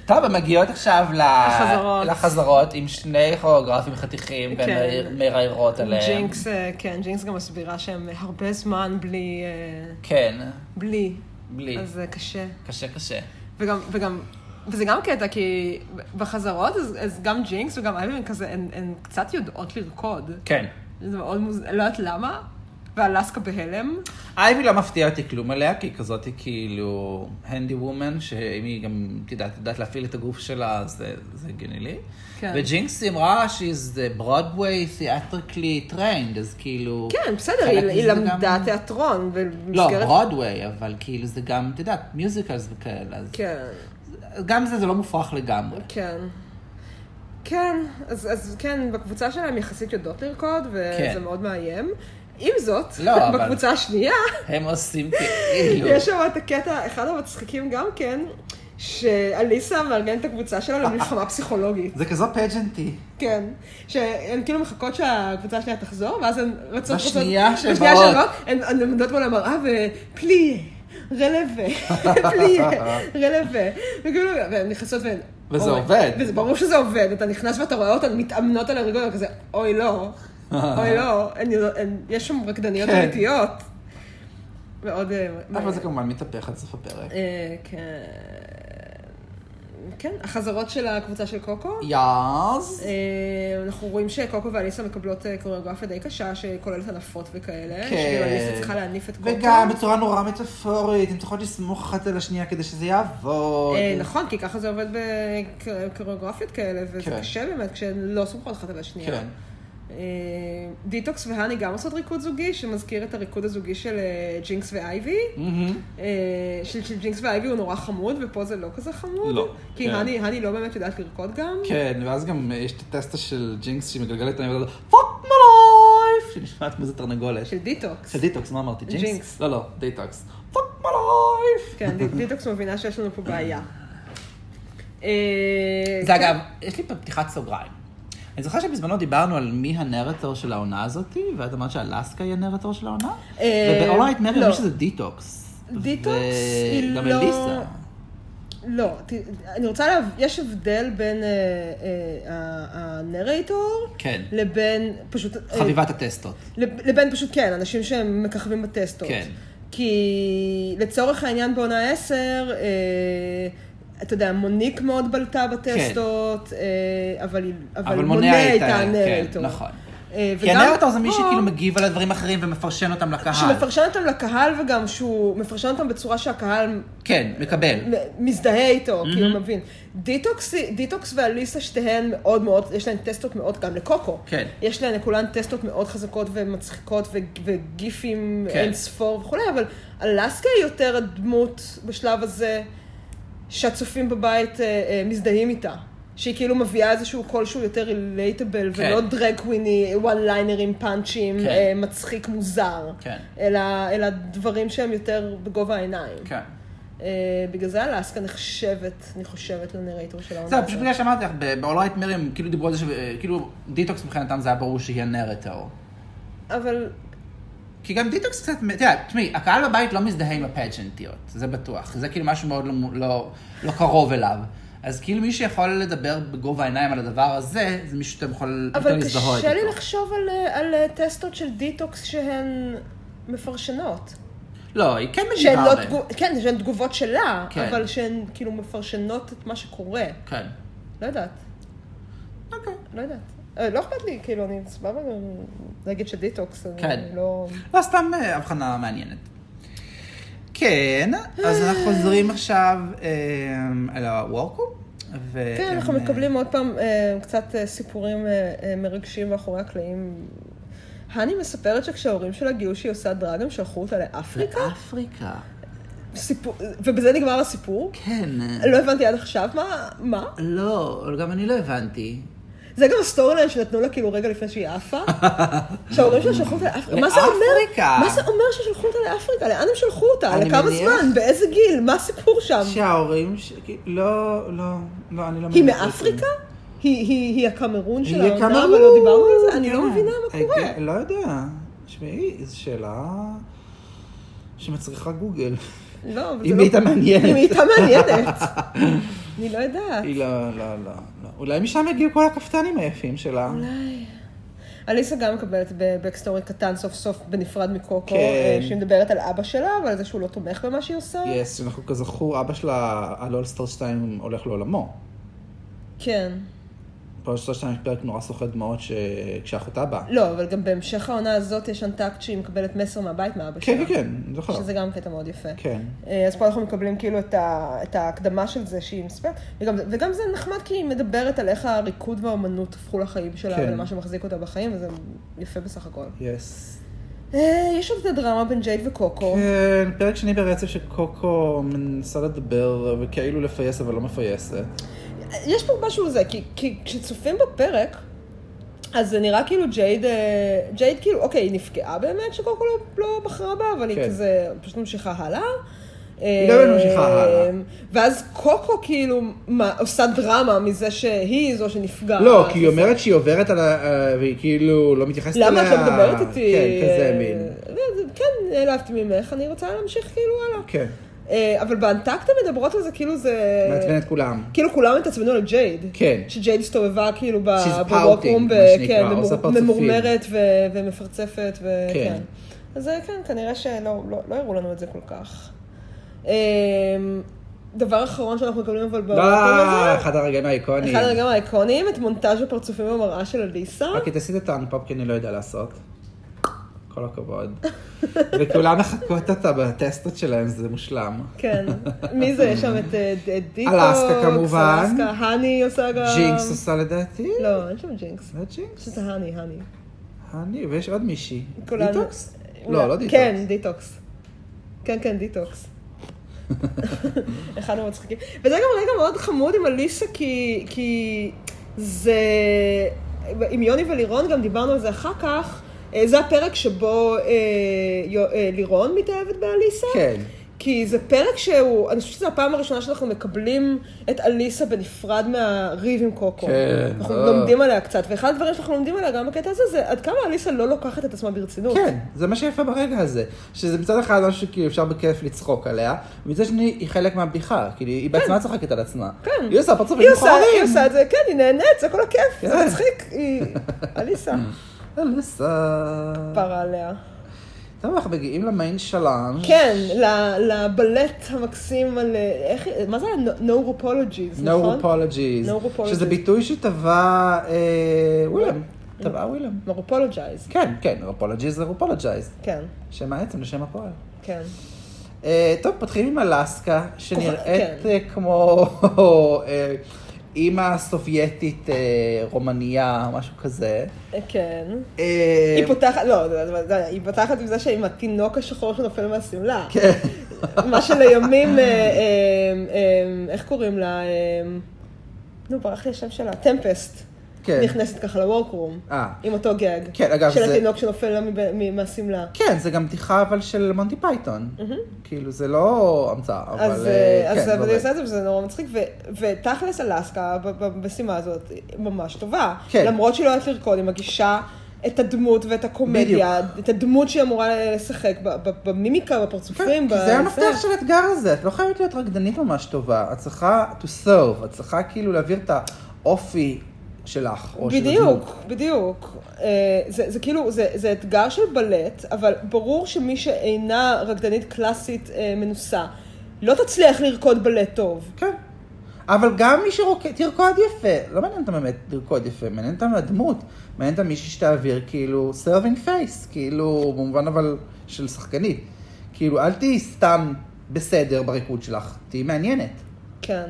[SPEAKER 2] טוב, הן מגיעות עכשיו ל...
[SPEAKER 1] לחזרות.
[SPEAKER 2] לחזרות עם שני כוריאוגרפים חתיכים, והן
[SPEAKER 1] כן.
[SPEAKER 2] מר- מראיירות עליהם.
[SPEAKER 1] ג'ינקס, אה, כן, ג'ינקס גם מסבירה שהם הרבה זמן בלי... אה,
[SPEAKER 2] כן,
[SPEAKER 1] בלי.
[SPEAKER 2] בלי.
[SPEAKER 1] אז זה קשה.
[SPEAKER 2] קשה, קשה.
[SPEAKER 1] וגם, וגם, וזה גם קטע, כי בחזרות, אז, אז גם ג'ינקס וגם אייבן כזה, הן, הן קצת יודעות לרקוד.
[SPEAKER 2] כן.
[SPEAKER 1] זה מאוד מוז... לא יודעת למה, ואלסקה בהלם.
[SPEAKER 2] אייבי לא מפתיעה אותי כלום עליה, כי היא כזאת היא כאילו הנדי וומן, שאם היא גם יודעת, יודעת להפעיל את הגוף שלה, אז זה, זה הגיוני לי.
[SPEAKER 1] כן.
[SPEAKER 2] וג'ינקס היא אמרה she's Broadway theatrically trained, אז כאילו...
[SPEAKER 1] כן, בסדר,
[SPEAKER 2] חלק
[SPEAKER 1] היא,
[SPEAKER 2] מזה
[SPEAKER 1] היא
[SPEAKER 2] זה
[SPEAKER 1] למדה
[SPEAKER 2] גם...
[SPEAKER 1] תיאטרון,
[SPEAKER 2] לא,
[SPEAKER 1] במסגרת...
[SPEAKER 2] ברודוויי, אבל כאילו זה גם, את יודעת, מיוזיקלס וכאלה. אז
[SPEAKER 1] כן,
[SPEAKER 2] גם זה, זה לא מופרך לגמרי.
[SPEAKER 1] כן. כן, אז, אז כן, בקבוצה שלהם יחסית יודעות לרקוד, וזה
[SPEAKER 2] כן.
[SPEAKER 1] מאוד מאיים. עם זאת,
[SPEAKER 2] לא, אבל-
[SPEAKER 1] בקבוצה השנייה,
[SPEAKER 2] הם עושים כאילו...
[SPEAKER 1] יש שם את הקטע, אחד המצחיקים גם כן, שאליסה מארגנת את הקבוצה שלה למלחמה פסיכולוגית.
[SPEAKER 2] זה כזו פג'נטי.
[SPEAKER 1] כן, שהן כאילו מחכות שהקבוצה השנייה תחזור, ואז הן רצות...
[SPEAKER 2] בשנייה
[SPEAKER 1] רצות-
[SPEAKER 2] שהן
[SPEAKER 1] בשנייה
[SPEAKER 2] באות.
[SPEAKER 1] שבאות, הן הן עומדות מול המראה ופליה, רלווה, פליה, רלווה. וכאילו, והן נכנסות והן...
[SPEAKER 2] וזה
[SPEAKER 1] אוי.
[SPEAKER 2] עובד.
[SPEAKER 1] וזה ברור שזה עובד, אתה נכנס ואתה רואה אותן מתאמנות על הרגול, כזה, אוי לא, אוי לא, הן יודעות- הן- יש שם רקדניות
[SPEAKER 2] כן.
[SPEAKER 1] אמיתיות. מאוד... אה,
[SPEAKER 2] אבל זה כמובן מתהפך עד סוף הפרק.
[SPEAKER 1] אה, כן. כן, החזרות של הקבוצה של קוקו.
[SPEAKER 2] יאז.
[SPEAKER 1] אה, אנחנו רואים שקוקו ואליסה מקבלות אה, קוריאוגרפיה די קשה, שכוללת הנפות וכאלה.
[SPEAKER 2] כן.
[SPEAKER 1] שכאילו אליסה צריכה להניף את קוקו. אה,
[SPEAKER 2] וגם בצורה נורא מטאפורית, הן צריכות לסמוך אחת על השנייה כדי שזה יעבוד.
[SPEAKER 1] אה, נכון, כי ככה זה עובד בקוריאוגרפיות כאלה, וזה
[SPEAKER 2] כן.
[SPEAKER 1] קשה באמת כשהן לא סומכות אחת על השנייה.
[SPEAKER 2] כן.
[SPEAKER 1] אה, דיטוקס והני גם עושות ריקוד זוגי, שמזכיר את הריקוד הזוגי של אה, ג'ינקס ואייבי.
[SPEAKER 2] מהמם.
[SPEAKER 1] אה, של של ג'ינקס ואייבי הוא נורא חמוד, ופה זה לא כזה חמוד.
[SPEAKER 2] לא,
[SPEAKER 1] כי
[SPEAKER 2] כן.
[SPEAKER 1] הני הני לא באמת יודעת לרקוד גם.
[SPEAKER 2] כן, ואז גם אה, יש את הטסטה של ג'ינקס שמגלגלת את העניין פאק מי לייף! שנשמעת כמו איזה תרנגולת.
[SPEAKER 1] של דיטוקס.
[SPEAKER 2] של דיטוקס, מה אמרתי? ג'ינקס?
[SPEAKER 1] ג'ינקס.
[SPEAKER 2] לא, לא, דיטוקס. פאק מי לייף!
[SPEAKER 1] כן, ד- דיטוקס מבינה שיש לנו פה בעיה. אה,
[SPEAKER 2] זה
[SPEAKER 1] כן.
[SPEAKER 2] אגב, יש לי פה פתיחת סוגריים. אני זוכר שבזמנו דיברנו על מי הנרטור של העונה הזאתי, ואת אמרת שאלסקה היא הנרטור של העונה?
[SPEAKER 1] אה,
[SPEAKER 2] ובאורלייט מרי
[SPEAKER 1] לא.
[SPEAKER 2] אמרו שזה דיטוקס.
[SPEAKER 1] דיטוקס היא
[SPEAKER 2] וגם
[SPEAKER 1] לא-
[SPEAKER 2] אליסה.
[SPEAKER 1] לא, ת- אני רוצה להב... יש הבדל בין אה, אה, ה- הנרייטור
[SPEAKER 2] כן.
[SPEAKER 1] לבין פשוט... אה,
[SPEAKER 2] חביבת הטסטות.
[SPEAKER 1] לב- לבין פשוט, כן, אנשים שהם מככבים בטסטות.
[SPEAKER 2] כן.
[SPEAKER 1] כי לצורך העניין בעונה 10, אה, אתה יודע, מוניק מאוד בלטה בטסטות, אה, אבל, היא- אבל מונה הייתה הנרייטור.
[SPEAKER 2] כן, נכון.
[SPEAKER 1] אה,
[SPEAKER 2] כי
[SPEAKER 1] וגם
[SPEAKER 2] הנרטור זה מי
[SPEAKER 1] פה-
[SPEAKER 2] שכאילו מגיב על הדברים האחרים ומפרשן אותם לקהל.
[SPEAKER 1] שמפרשן אותם לקהל וגם שהוא מפרשן אותם בצורה שהקהל
[SPEAKER 2] כן, מקבל.
[SPEAKER 1] מ- מזדהה איתו, כאילו מבין. דיטוקס, דיטוקס ואליסה שתיהן מאוד מאוד, יש להן טסטות מאוד, גם לקוקו.
[SPEAKER 2] כן.
[SPEAKER 1] יש להן לכולן טסטות מאוד חזקות ומצחיקות ו- וגיפים
[SPEAKER 2] כן.
[SPEAKER 1] אין ספור וכולי, אבל אלסקה היא יותר הדמות בשלב הזה שהצופים בבית אה, אה, מזדהים איתה. שהיא כאילו מביאה איזשהו קול שהוא יותר רילייטבל,
[SPEAKER 2] כן.
[SPEAKER 1] ולא דרג וויני, וואן ליינרים, פאנצ'ים,
[SPEAKER 2] כן.
[SPEAKER 1] אה, מצחיק, מוזר.
[SPEAKER 2] כן.
[SPEAKER 1] אלא, אלא דברים שהם יותר בגובה העיניים.
[SPEAKER 2] כן.
[SPEAKER 1] אה, בגלל זה אלסקה נחשבת, אני חושבת, לנרייטור של העונה
[SPEAKER 2] זהו, פשוט בגלל שאמרתי לך, ב- ב-All Right Mary הם כאילו דיברו על זה, ש- אה, כאילו דיטוקס מבחינתם זה היה ברור שהיא הנרטור.
[SPEAKER 1] אבל
[SPEAKER 2] כי גם דיטוקס קצת, אתה יודע, תשמעי, הקהל בבית לא מזדהה עם הפג'נטיות, זה בטוח. זה כאילו משהו מאוד לא, לא, לא קרוב אליו. אז כאילו מי שיכול לדבר בגובה העיניים על הדבר הזה, זה מישהו שאתם יכול יותר
[SPEAKER 1] אבל
[SPEAKER 2] להזדהות
[SPEAKER 1] קשה לי לחשוב על, אה, על אה, טסטות של דיטוקס שהן מפרשנות.
[SPEAKER 2] לא, היא כן
[SPEAKER 1] שהן
[SPEAKER 2] מגיבה
[SPEAKER 1] לא
[SPEAKER 2] עליהם.
[SPEAKER 1] תגוב... כן, שהן תגובות שלה,
[SPEAKER 2] כן.
[SPEAKER 1] אבל שהן כאילו מפרשנות את מה שקורה.
[SPEAKER 2] כן.
[SPEAKER 1] לא יודעת,
[SPEAKER 2] אוקיי.
[SPEAKER 1] לא יודעת. אה, לא אכפת לי, כאילו, אני סבבה גם להגיד שדיטוקס, אני
[SPEAKER 2] כן.
[SPEAKER 1] לא...
[SPEAKER 2] לא, סתם אה, הבחנה מעניינת. כן, אז אנחנו חוזרים עכשיו אה, אל הוורקו. ו-
[SPEAKER 1] כן, אנחנו
[SPEAKER 2] אה,
[SPEAKER 1] מקבלים עוד פעם אה, קצת אה, סיפורים אה, אה, מרגשים מאחורי הקלעים. הני מספרת שכשההורים שלה גילו שהיא עושה דרג, הם שלחו אותה לאפריקה,
[SPEAKER 2] לאפריקה.
[SPEAKER 1] סיפור- ובזה נגמר הסיפור.
[SPEAKER 2] כן.
[SPEAKER 1] לא הבנתי עד עכשיו, מה? מה?
[SPEAKER 2] לא, גם אני לא הבנתי.
[SPEAKER 1] זה גם הסטורי ליין שנתנו לה כאילו רגע לפני שהיא עפה. שההורים שלה שלחו אותה לאפריקה. מה זה
[SPEAKER 2] לאפריקה.
[SPEAKER 1] אומר? מה זה אומר ששלחו אותה לאפריקה? לאן הם שלחו אותה?
[SPEAKER 2] אני
[SPEAKER 1] לכמה
[SPEAKER 2] מניח.
[SPEAKER 1] זמן? באיזה גיל? מה הסיפור שם?
[SPEAKER 2] שההורים, ש- כי- לא, לא, לא, אני
[SPEAKER 1] היא
[SPEAKER 2] לא מבינה את זה.
[SPEAKER 1] מאפריקה? היא- היא היא הקמרון של
[SPEAKER 2] היא
[SPEAKER 1] העונה,
[SPEAKER 2] הקמרון.
[SPEAKER 1] אבל לא דיברנו על זה? אני לא
[SPEAKER 2] כן.
[SPEAKER 1] מבינה מה קורה.
[SPEAKER 2] הייתי- לא יודע. תשמעי, זו שאלה שמצריכה גוגל.
[SPEAKER 1] לא, אבל
[SPEAKER 2] אם
[SPEAKER 1] זה לא-
[SPEAKER 2] היא הייתה מעניינת.
[SPEAKER 1] אם היא הייתה מעניינת. אני לא יודעת.
[SPEAKER 2] היא לא, לא, לא, לא. אולי משם הגיעו כל הכפתנים היפים שלה.
[SPEAKER 1] אולי. אליסה גם מקבלת בבקסטורי קטן סוף סוף בנפרד מקוקו,
[SPEAKER 2] כן. כן.
[SPEAKER 1] אה, שהיא מדברת על אבא שלה ועל זה שהוא לא תומך במה שהיא עושה.
[SPEAKER 2] יס, אנחנו כזכור, אבא שלה על אולסטר 2 הולך לעולמו.
[SPEAKER 1] כן.
[SPEAKER 2] באולסטר 2 יש פרק נורא סוחט דמעות ש- כשאחותה באה.
[SPEAKER 1] לא, אבל גם בהמשך העונה הזאת יש אנטקט שהיא מקבלת מסר מהבית מאבא לא שלה.
[SPEAKER 2] כן, כן, כן, אני זוכר.
[SPEAKER 1] שזה גם קטע מאוד יפה.
[SPEAKER 2] כן.
[SPEAKER 1] אה, אז פה אנחנו מקבלים כאילו את, ה, את ההקדמה של זה שהיא מספרת, וגם, וגם זה נחמד כי היא מדברת על איך הריקוד והאומנות הפכו לחיים שלה
[SPEAKER 2] כן.
[SPEAKER 1] ולמה שמחזיק אותה בחיים, וזה יפה בסך הכל.
[SPEAKER 2] יס.
[SPEAKER 1] אה, יש עוד את הדרמה בין ג'ייד וקוקו.
[SPEAKER 2] כן, פרק שני ברצף שקוקו מנסה לדבר וכאילו לפייס אבל לא מפייסת.
[SPEAKER 1] יש פה משהו זה, כי, כי כשצופים בפרק, אז זה נראה כאילו ג'ייד, אה, ג'ייד כאילו, אוקיי, היא נפגעה באמת שקוקו לא, לא בחרה בה, אבל היא
[SPEAKER 2] כן.
[SPEAKER 1] כזה פשוט ממשיכה הלאה. אה,
[SPEAKER 2] היא גם ממשיכה הלאה.
[SPEAKER 1] ואז קוקו כאילו מה, עושה דרמה מזה שהיא זו שנפגעת.
[SPEAKER 2] לא, כי היא אומרת שהיא עוברת על ה... אה, והיא כאילו לא מתייחסת אליה.
[SPEAKER 1] למה את לא מדברת איתי?
[SPEAKER 2] כן, כזה
[SPEAKER 1] אה,
[SPEAKER 2] מין.
[SPEAKER 1] זה- זה- כן, העלבתי ממך, אני רוצה להמשיך כאילו הלאה.
[SPEAKER 2] כן,
[SPEAKER 1] אה, אבל באנטקטה מדברות על זה כאילו זה...
[SPEAKER 2] מעצבן את כולם.
[SPEAKER 1] כאילו כולם התעצבנו על ג'ייד.
[SPEAKER 2] כן.
[SPEAKER 1] שג'ייד הסתובבה כאילו ב-
[SPEAKER 2] She's
[SPEAKER 1] בווקרום,
[SPEAKER 2] pouting,
[SPEAKER 1] ב-
[SPEAKER 2] מה שנקרא,
[SPEAKER 1] כן,
[SPEAKER 2] עושה
[SPEAKER 1] ממור-
[SPEAKER 2] פרצופים.
[SPEAKER 1] ממורמרת ו- ומפרצפת, וכן.
[SPEAKER 2] כן.
[SPEAKER 1] כן. אז אה, כן, כנראה שלא לא- לא הראו לנו את זה כל כך. אמ, דבר אחרון שאנחנו מקבלים אבל בווקרום
[SPEAKER 2] אה,
[SPEAKER 1] הזה,
[SPEAKER 2] אחד הרגעים האיקוניים.
[SPEAKER 1] לא, אחד הרגעים האיקוניים, את מונטאז' הפרצופים במראה של אליסה.
[SPEAKER 2] רק היא תעשי את הטאנפופ כי אני לא יודע לעשות. כל הכבוד. וכולם מחקות אותה בטסטות שלהם, זה מושלם.
[SPEAKER 1] כן. מי זה? יש שם את אה, ד- את דיקוקס,
[SPEAKER 2] אלסקה, כמובן.
[SPEAKER 1] אלסקה, האני עושה גם.
[SPEAKER 2] ג'ינקס עושה לדעתי?
[SPEAKER 1] לא, אין שם ג'ינקס.
[SPEAKER 2] לא ג'ינקס.
[SPEAKER 1] יש את האני, האני.
[SPEAKER 2] אני, ויש עוד מישהי.
[SPEAKER 1] כולנו-
[SPEAKER 2] דיטוקס?
[SPEAKER 1] אולי-
[SPEAKER 2] לא, לא דיטוקס.
[SPEAKER 1] כן, דיטוקס. כן, כן, דיטוקס. אחד המצחיקים. וזה גם רגע מאוד חמוד עם אליסה, כי, כי זה... עם יוני ולירון גם דיברנו על זה אחר כך. אה, זה הפרק שבו אה, יו, אה, לירון מתאהבת באליסה.
[SPEAKER 2] כן.
[SPEAKER 1] כי זה פרק שהוא, אני חושבת שזו הפעם הראשונה שאנחנו מקבלים את אליסה בנפרד מהריב עם קוקו.
[SPEAKER 2] כן,
[SPEAKER 1] אנחנו
[SPEAKER 2] אה.
[SPEAKER 1] לומדים עליה קצת, ואחד הדברים שאנחנו לומדים עליה גם בקטע הזה, זה עד כמה אליסה לא לוקחת את עצמה ברצינות.
[SPEAKER 2] כן, זה מה שיפה ברגע הזה. שזה מצד אחד משהו כאילו אפשר בכיף לצחוק עליה, ומצד שני היא חלק מהבדיחה, כאילו היא בעצמה צוחקת על עצמה.
[SPEAKER 1] כן.
[SPEAKER 2] היא עושה פרצופים
[SPEAKER 1] היא עושה,
[SPEAKER 2] מכוערים.
[SPEAKER 1] היא עושה את זה, כן, היא נהנית, זה כל הכיף, זה
[SPEAKER 2] כן.
[SPEAKER 1] מצחיק, היא... אליסה,
[SPEAKER 2] אליסה.
[SPEAKER 1] פרה עליה.
[SPEAKER 2] טוב, אנחנו מגיעים למיין שלנו.
[SPEAKER 1] כן, ל- לבלט המקסים על... אה, איך... מה זה היה? No- No Apologies, נכון?
[SPEAKER 2] No apologies.
[SPEAKER 1] No apologies.
[SPEAKER 2] שזה ביטוי שטבע אה, ווילם. טבע ווילם.
[SPEAKER 1] No Apologize,
[SPEAKER 2] כן, כן, apologies זה apologize.
[SPEAKER 1] כן,
[SPEAKER 2] שם העצם לשם הפועל.
[SPEAKER 1] כן.
[SPEAKER 2] אה, טוב, פותחים עם אלסקה, שנראית
[SPEAKER 1] כן.
[SPEAKER 2] אה, כמו אה, אימא סובייטית אה, רומניה, משהו כזה.
[SPEAKER 1] אה, כן.
[SPEAKER 2] אה,
[SPEAKER 1] היא פותחת, לא, זה- זה- זה- היא פותחת עם זה שעם התינוק השחור שנופל מהשמלה.
[SPEAKER 2] כן.
[SPEAKER 1] מה שלימים, אה, אה, אה, איך קוראים לה? אה, נו, ברח לי השם שלה, טמפסט.
[SPEAKER 2] כן.
[SPEAKER 1] נכנסת ככה לוורקרום.
[SPEAKER 2] אה.
[SPEAKER 1] עם אותו גג.
[SPEAKER 2] כן, אגב,
[SPEAKER 1] של
[SPEAKER 2] זה-
[SPEAKER 1] התינוק שנופל לה מב- מ- מהשמלה.
[SPEAKER 2] כן, זה גם בדיחה אבל של מונטי פייתון. כאילו, זה לא המצאה, אבל...
[SPEAKER 1] אז
[SPEAKER 2] אה,
[SPEAKER 1] אה, אז
[SPEAKER 2] כן,
[SPEAKER 1] אבל
[SPEAKER 2] באמת.
[SPEAKER 1] היא עושה את זה וזה נורא מצחיק, ו- ותכלס אלסקה ב- ב- במשימה הזאת היא ממש טובה.
[SPEAKER 2] כן.
[SPEAKER 1] למרות שהיא לא יודעת לרקוד, היא מגישה את הדמות ואת הקומדיה, את הדמות שהיא אמורה לשחק ב- ב- במימיקה, בפרצופים.
[SPEAKER 2] כן, כי
[SPEAKER 1] ב-
[SPEAKER 2] זה המפתח של האתגר הזה, את לא חייבת להיות רקדנית ממש טובה, את צריכה to serve, את צריכה כאילו להעביר את האופי שלך, או של הדמות.
[SPEAKER 1] בדיוק, בדיוק. אה, זה, זה כאילו, זה, זה אתגר של בלט, אבל ברור שמי שאינה רקדנית קלאסית אה, מנוסה, לא תצליח לרקוד בלט טוב.
[SPEAKER 2] כן. אבל גם מי שרוקד, תרקוד יפה. לא מעניין אותם באמת לרקוד יפה, מעניין אותם הדמות. מעניין אותם מישהי שתעביר כאילו סרווינג פייס, כאילו במובן אבל של שחקנית. כאילו אל תהיי סתם בסדר בריקוד שלך, תהיי מעניינת.
[SPEAKER 1] כן.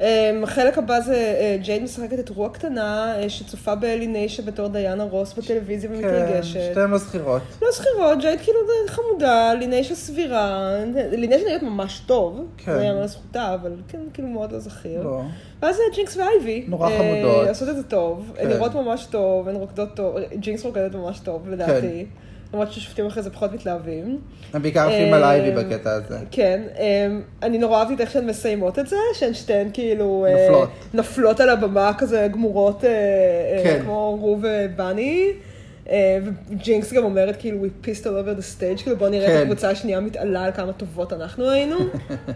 [SPEAKER 1] אה, החלק הבא זה אה, ג'ייד משחקת את רוח קטנה אה, שצופה באלי ניישה בתור דיאנה רוס בטלוויזיה
[SPEAKER 2] כן,
[SPEAKER 1] ומתרגשת.
[SPEAKER 2] שתיהן לא זכירות.
[SPEAKER 1] לא שכירות, ג'ייד כאילו זה חמודה, ליניישה סבירה, ליניישה נראית ממש טוב, לא
[SPEAKER 2] כן.
[SPEAKER 1] זה יאמר לזכותה, אבל כן, כאילו מאוד לא זכיר.
[SPEAKER 2] לא.
[SPEAKER 1] ואז אה, ג'ינקס ואייבי.
[SPEAKER 2] נורא
[SPEAKER 1] אה,
[SPEAKER 2] חמודות.
[SPEAKER 1] עושות את זה טוב,
[SPEAKER 2] כן.
[SPEAKER 1] הן נראות ממש טוב, הן רוקדות טוב, ג'ינקס רוקדת ממש
[SPEAKER 2] כן.
[SPEAKER 1] טוב, לדעתי. למרות ששופטים אחרי זה פחות מתלהבים.
[SPEAKER 2] הם בעיקר עפים
[SPEAKER 1] אה,
[SPEAKER 2] על אייבי בקטע הזה.
[SPEAKER 1] כן, אמ, אני נורא אהבתי את איך שהן מסיימות את זה, שהן שתיהן כאילו... אה,
[SPEAKER 2] נופלות.
[SPEAKER 1] נופלות על הבמה כזה גמורות, אה, אה,
[SPEAKER 2] כן.
[SPEAKER 1] כמו רו ובאני. אה, וג'ינקס גם אומרת כאילו, we pissed all over the stage, כאילו בוא נראה את
[SPEAKER 2] כן.
[SPEAKER 1] הקבוצה השנייה מתעלה על כמה טובות אנחנו היינו,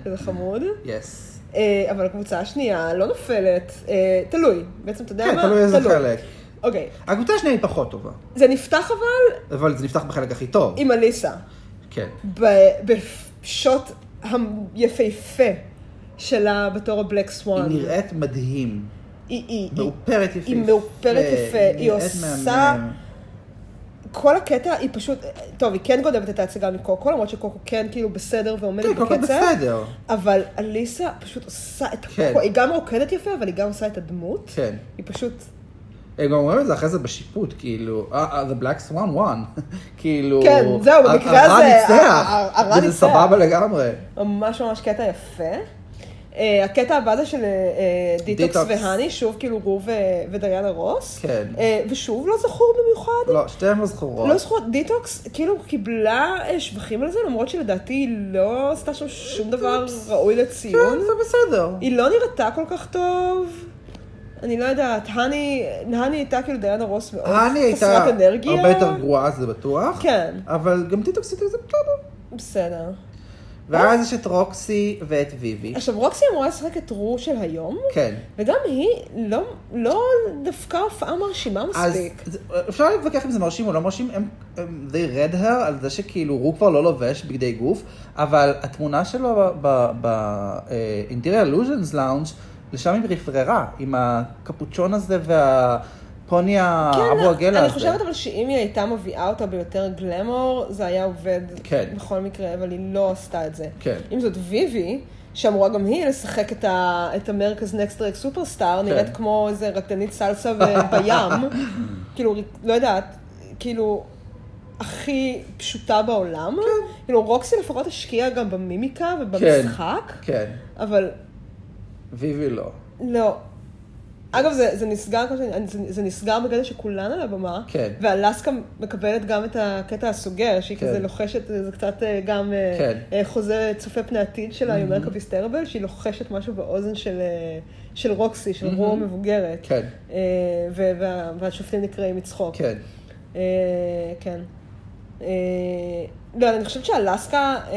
[SPEAKER 1] זה חמוד.
[SPEAKER 2] יס.
[SPEAKER 1] אה, אבל הקבוצה השנייה לא נופלת, אה, תלוי. בעצם, אתה יודע
[SPEAKER 2] כן,
[SPEAKER 1] מה?
[SPEAKER 2] תלוי איזה חלק.
[SPEAKER 1] אוקיי.
[SPEAKER 2] הקבוצה השנייה היא פחות טובה,
[SPEAKER 1] זה נפתח אבל
[SPEAKER 2] אבל זה נפתח בחלק הכי טוב.
[SPEAKER 1] עם אליסה.
[SPEAKER 2] כן.
[SPEAKER 1] ב- בשוט היפהפה שלה בתור הבלק
[SPEAKER 2] היא
[SPEAKER 1] סוואן.
[SPEAKER 2] נראית מדהים,
[SPEAKER 1] היא- היא- היא-
[SPEAKER 2] מאופרת יפה. כן,
[SPEAKER 1] היא מאופרת יפה, היא
[SPEAKER 2] נראית
[SPEAKER 1] עושה-
[SPEAKER 2] מהמם.
[SPEAKER 1] כל הקטע היא פשוט, טוב, היא כן גונבת את ההצגה מקוקו, למרות שקוקו כן כאילו בסדר ועומדת
[SPEAKER 2] כן, כל כך
[SPEAKER 1] בקצב.
[SPEAKER 2] בסדר.
[SPEAKER 1] אבל אליסה פשוט עושה את
[SPEAKER 2] כן.
[SPEAKER 1] הקוקו, היא גם רוקדת יפה, אבל היא גם עושה את הדמות.
[SPEAKER 2] כן.
[SPEAKER 1] היא פשוט,
[SPEAKER 2] הם גם אומרים את זה אחרי זה בשיפוט, כאילו, "Ah, ah, the black swan won. כאילו,
[SPEAKER 1] כן, זהו,
[SPEAKER 2] "ה-
[SPEAKER 1] במקרה
[SPEAKER 2] הרע
[SPEAKER 1] הזה,
[SPEAKER 2] ניצח.
[SPEAKER 1] ה- ה- הרע
[SPEAKER 2] וזה
[SPEAKER 1] ניצח.
[SPEAKER 2] סבבה לגמרי.
[SPEAKER 1] ממש ממש קטע יפה. אה, הקטע הבא זה של אה, דיטוקס
[SPEAKER 2] דיטוקס.
[SPEAKER 1] והני, שוב כאילו רו ו- ודיינה רוס.
[SPEAKER 2] כן.
[SPEAKER 1] אה, ושוב לא זכור במיוחד.
[SPEAKER 2] לא, שתיהן לא זכורות.
[SPEAKER 1] לא זכור, דיטוקס כאילו קיבלה אה, שבחים על זה, למרות שלדעתי היא לא עשתה שם שום דבר ראוי
[SPEAKER 2] כן,
[SPEAKER 1] לציון.
[SPEAKER 2] זה בסדר.
[SPEAKER 1] היא לא נראתה כל כך טוב. אני לא יודעת, הני, הני הייתה כאילו דיינה רוס מאוד
[SPEAKER 2] האני הייתה
[SPEAKER 1] חסרת אנרגיה.
[SPEAKER 2] הרבה יותר גרועה, זה בטוח.
[SPEAKER 1] כן.
[SPEAKER 2] אבל גם טיטוקסית זה בסדר.
[SPEAKER 1] בסדר.
[SPEAKER 2] ואז יש את רוקסי ואת ויבי.
[SPEAKER 1] עכשיו, רוקסי אמורה לשחק את רו של היום,
[SPEAKER 2] כן.
[SPEAKER 1] וגם היא לא, לא דווקא הופעה מרשימה
[SPEAKER 2] אז
[SPEAKER 1] מספיק.
[SPEAKER 2] זה- אפשר להתווכח אם זה מרשים או לא מרשים, הם, הם they read her על זה שכאילו הוא כבר לא לובש בגדי גוף, אבל התמונה שלו ב-Interior אה, Illusions Lounge, לשם היא רפררה, עם הקפוצ'ון הזה והפוני האבו
[SPEAKER 1] כן,
[SPEAKER 2] הגלה
[SPEAKER 1] אני
[SPEAKER 2] אה, הזה.
[SPEAKER 1] חושבת אבל שאם היא הייתה מביאה אותה ביותר גלמור, זה היה עובד
[SPEAKER 2] כן.
[SPEAKER 1] בכל מקרה, אבל היא לא עשתה את זה.
[SPEAKER 2] כן.
[SPEAKER 1] אם זאת ויבי, שאמורה גם היא לשחק את, ה, את המרכז נקסט רק
[SPEAKER 2] כן.
[SPEAKER 1] סופרסטאר, נראית כמו איזה רקדנית סלסה ו- בים, כאילו, לא יודעת, כאילו, הכי פשוטה בעולם. כן. כאילו, רוקסי לפחות השקיעה גם במימיקה ובמשחק,
[SPEAKER 2] כן,
[SPEAKER 1] אבל
[SPEAKER 2] ויבי לא.
[SPEAKER 1] לא. אגב, זה, זה נסגר, כמו שאני- זה, זה נסגר בקטע שכולן על הבמה,
[SPEAKER 2] כן.
[SPEAKER 1] ואלסקה מקבלת גם את הקטע הסוגר, שהיא
[SPEAKER 2] כן.
[SPEAKER 1] כזה לוחשת, זה קצת אה, גם אה,
[SPEAKER 2] כן. Mm-hmm.
[SPEAKER 1] אה, חוזה צופה פני עתיד שלה, עם מרקה ביסטרבל, שהיא לוחשת משהו באוזן של, אה, של רוקסי, של רום מבוגרת.
[SPEAKER 2] Mm-hmm. כן.
[SPEAKER 1] אה, ו- וה- והשופטים נקראים מצחוק.
[SPEAKER 2] כן.
[SPEAKER 1] אה, כן. אה, לא, אני חושבת שאלסקה, אה,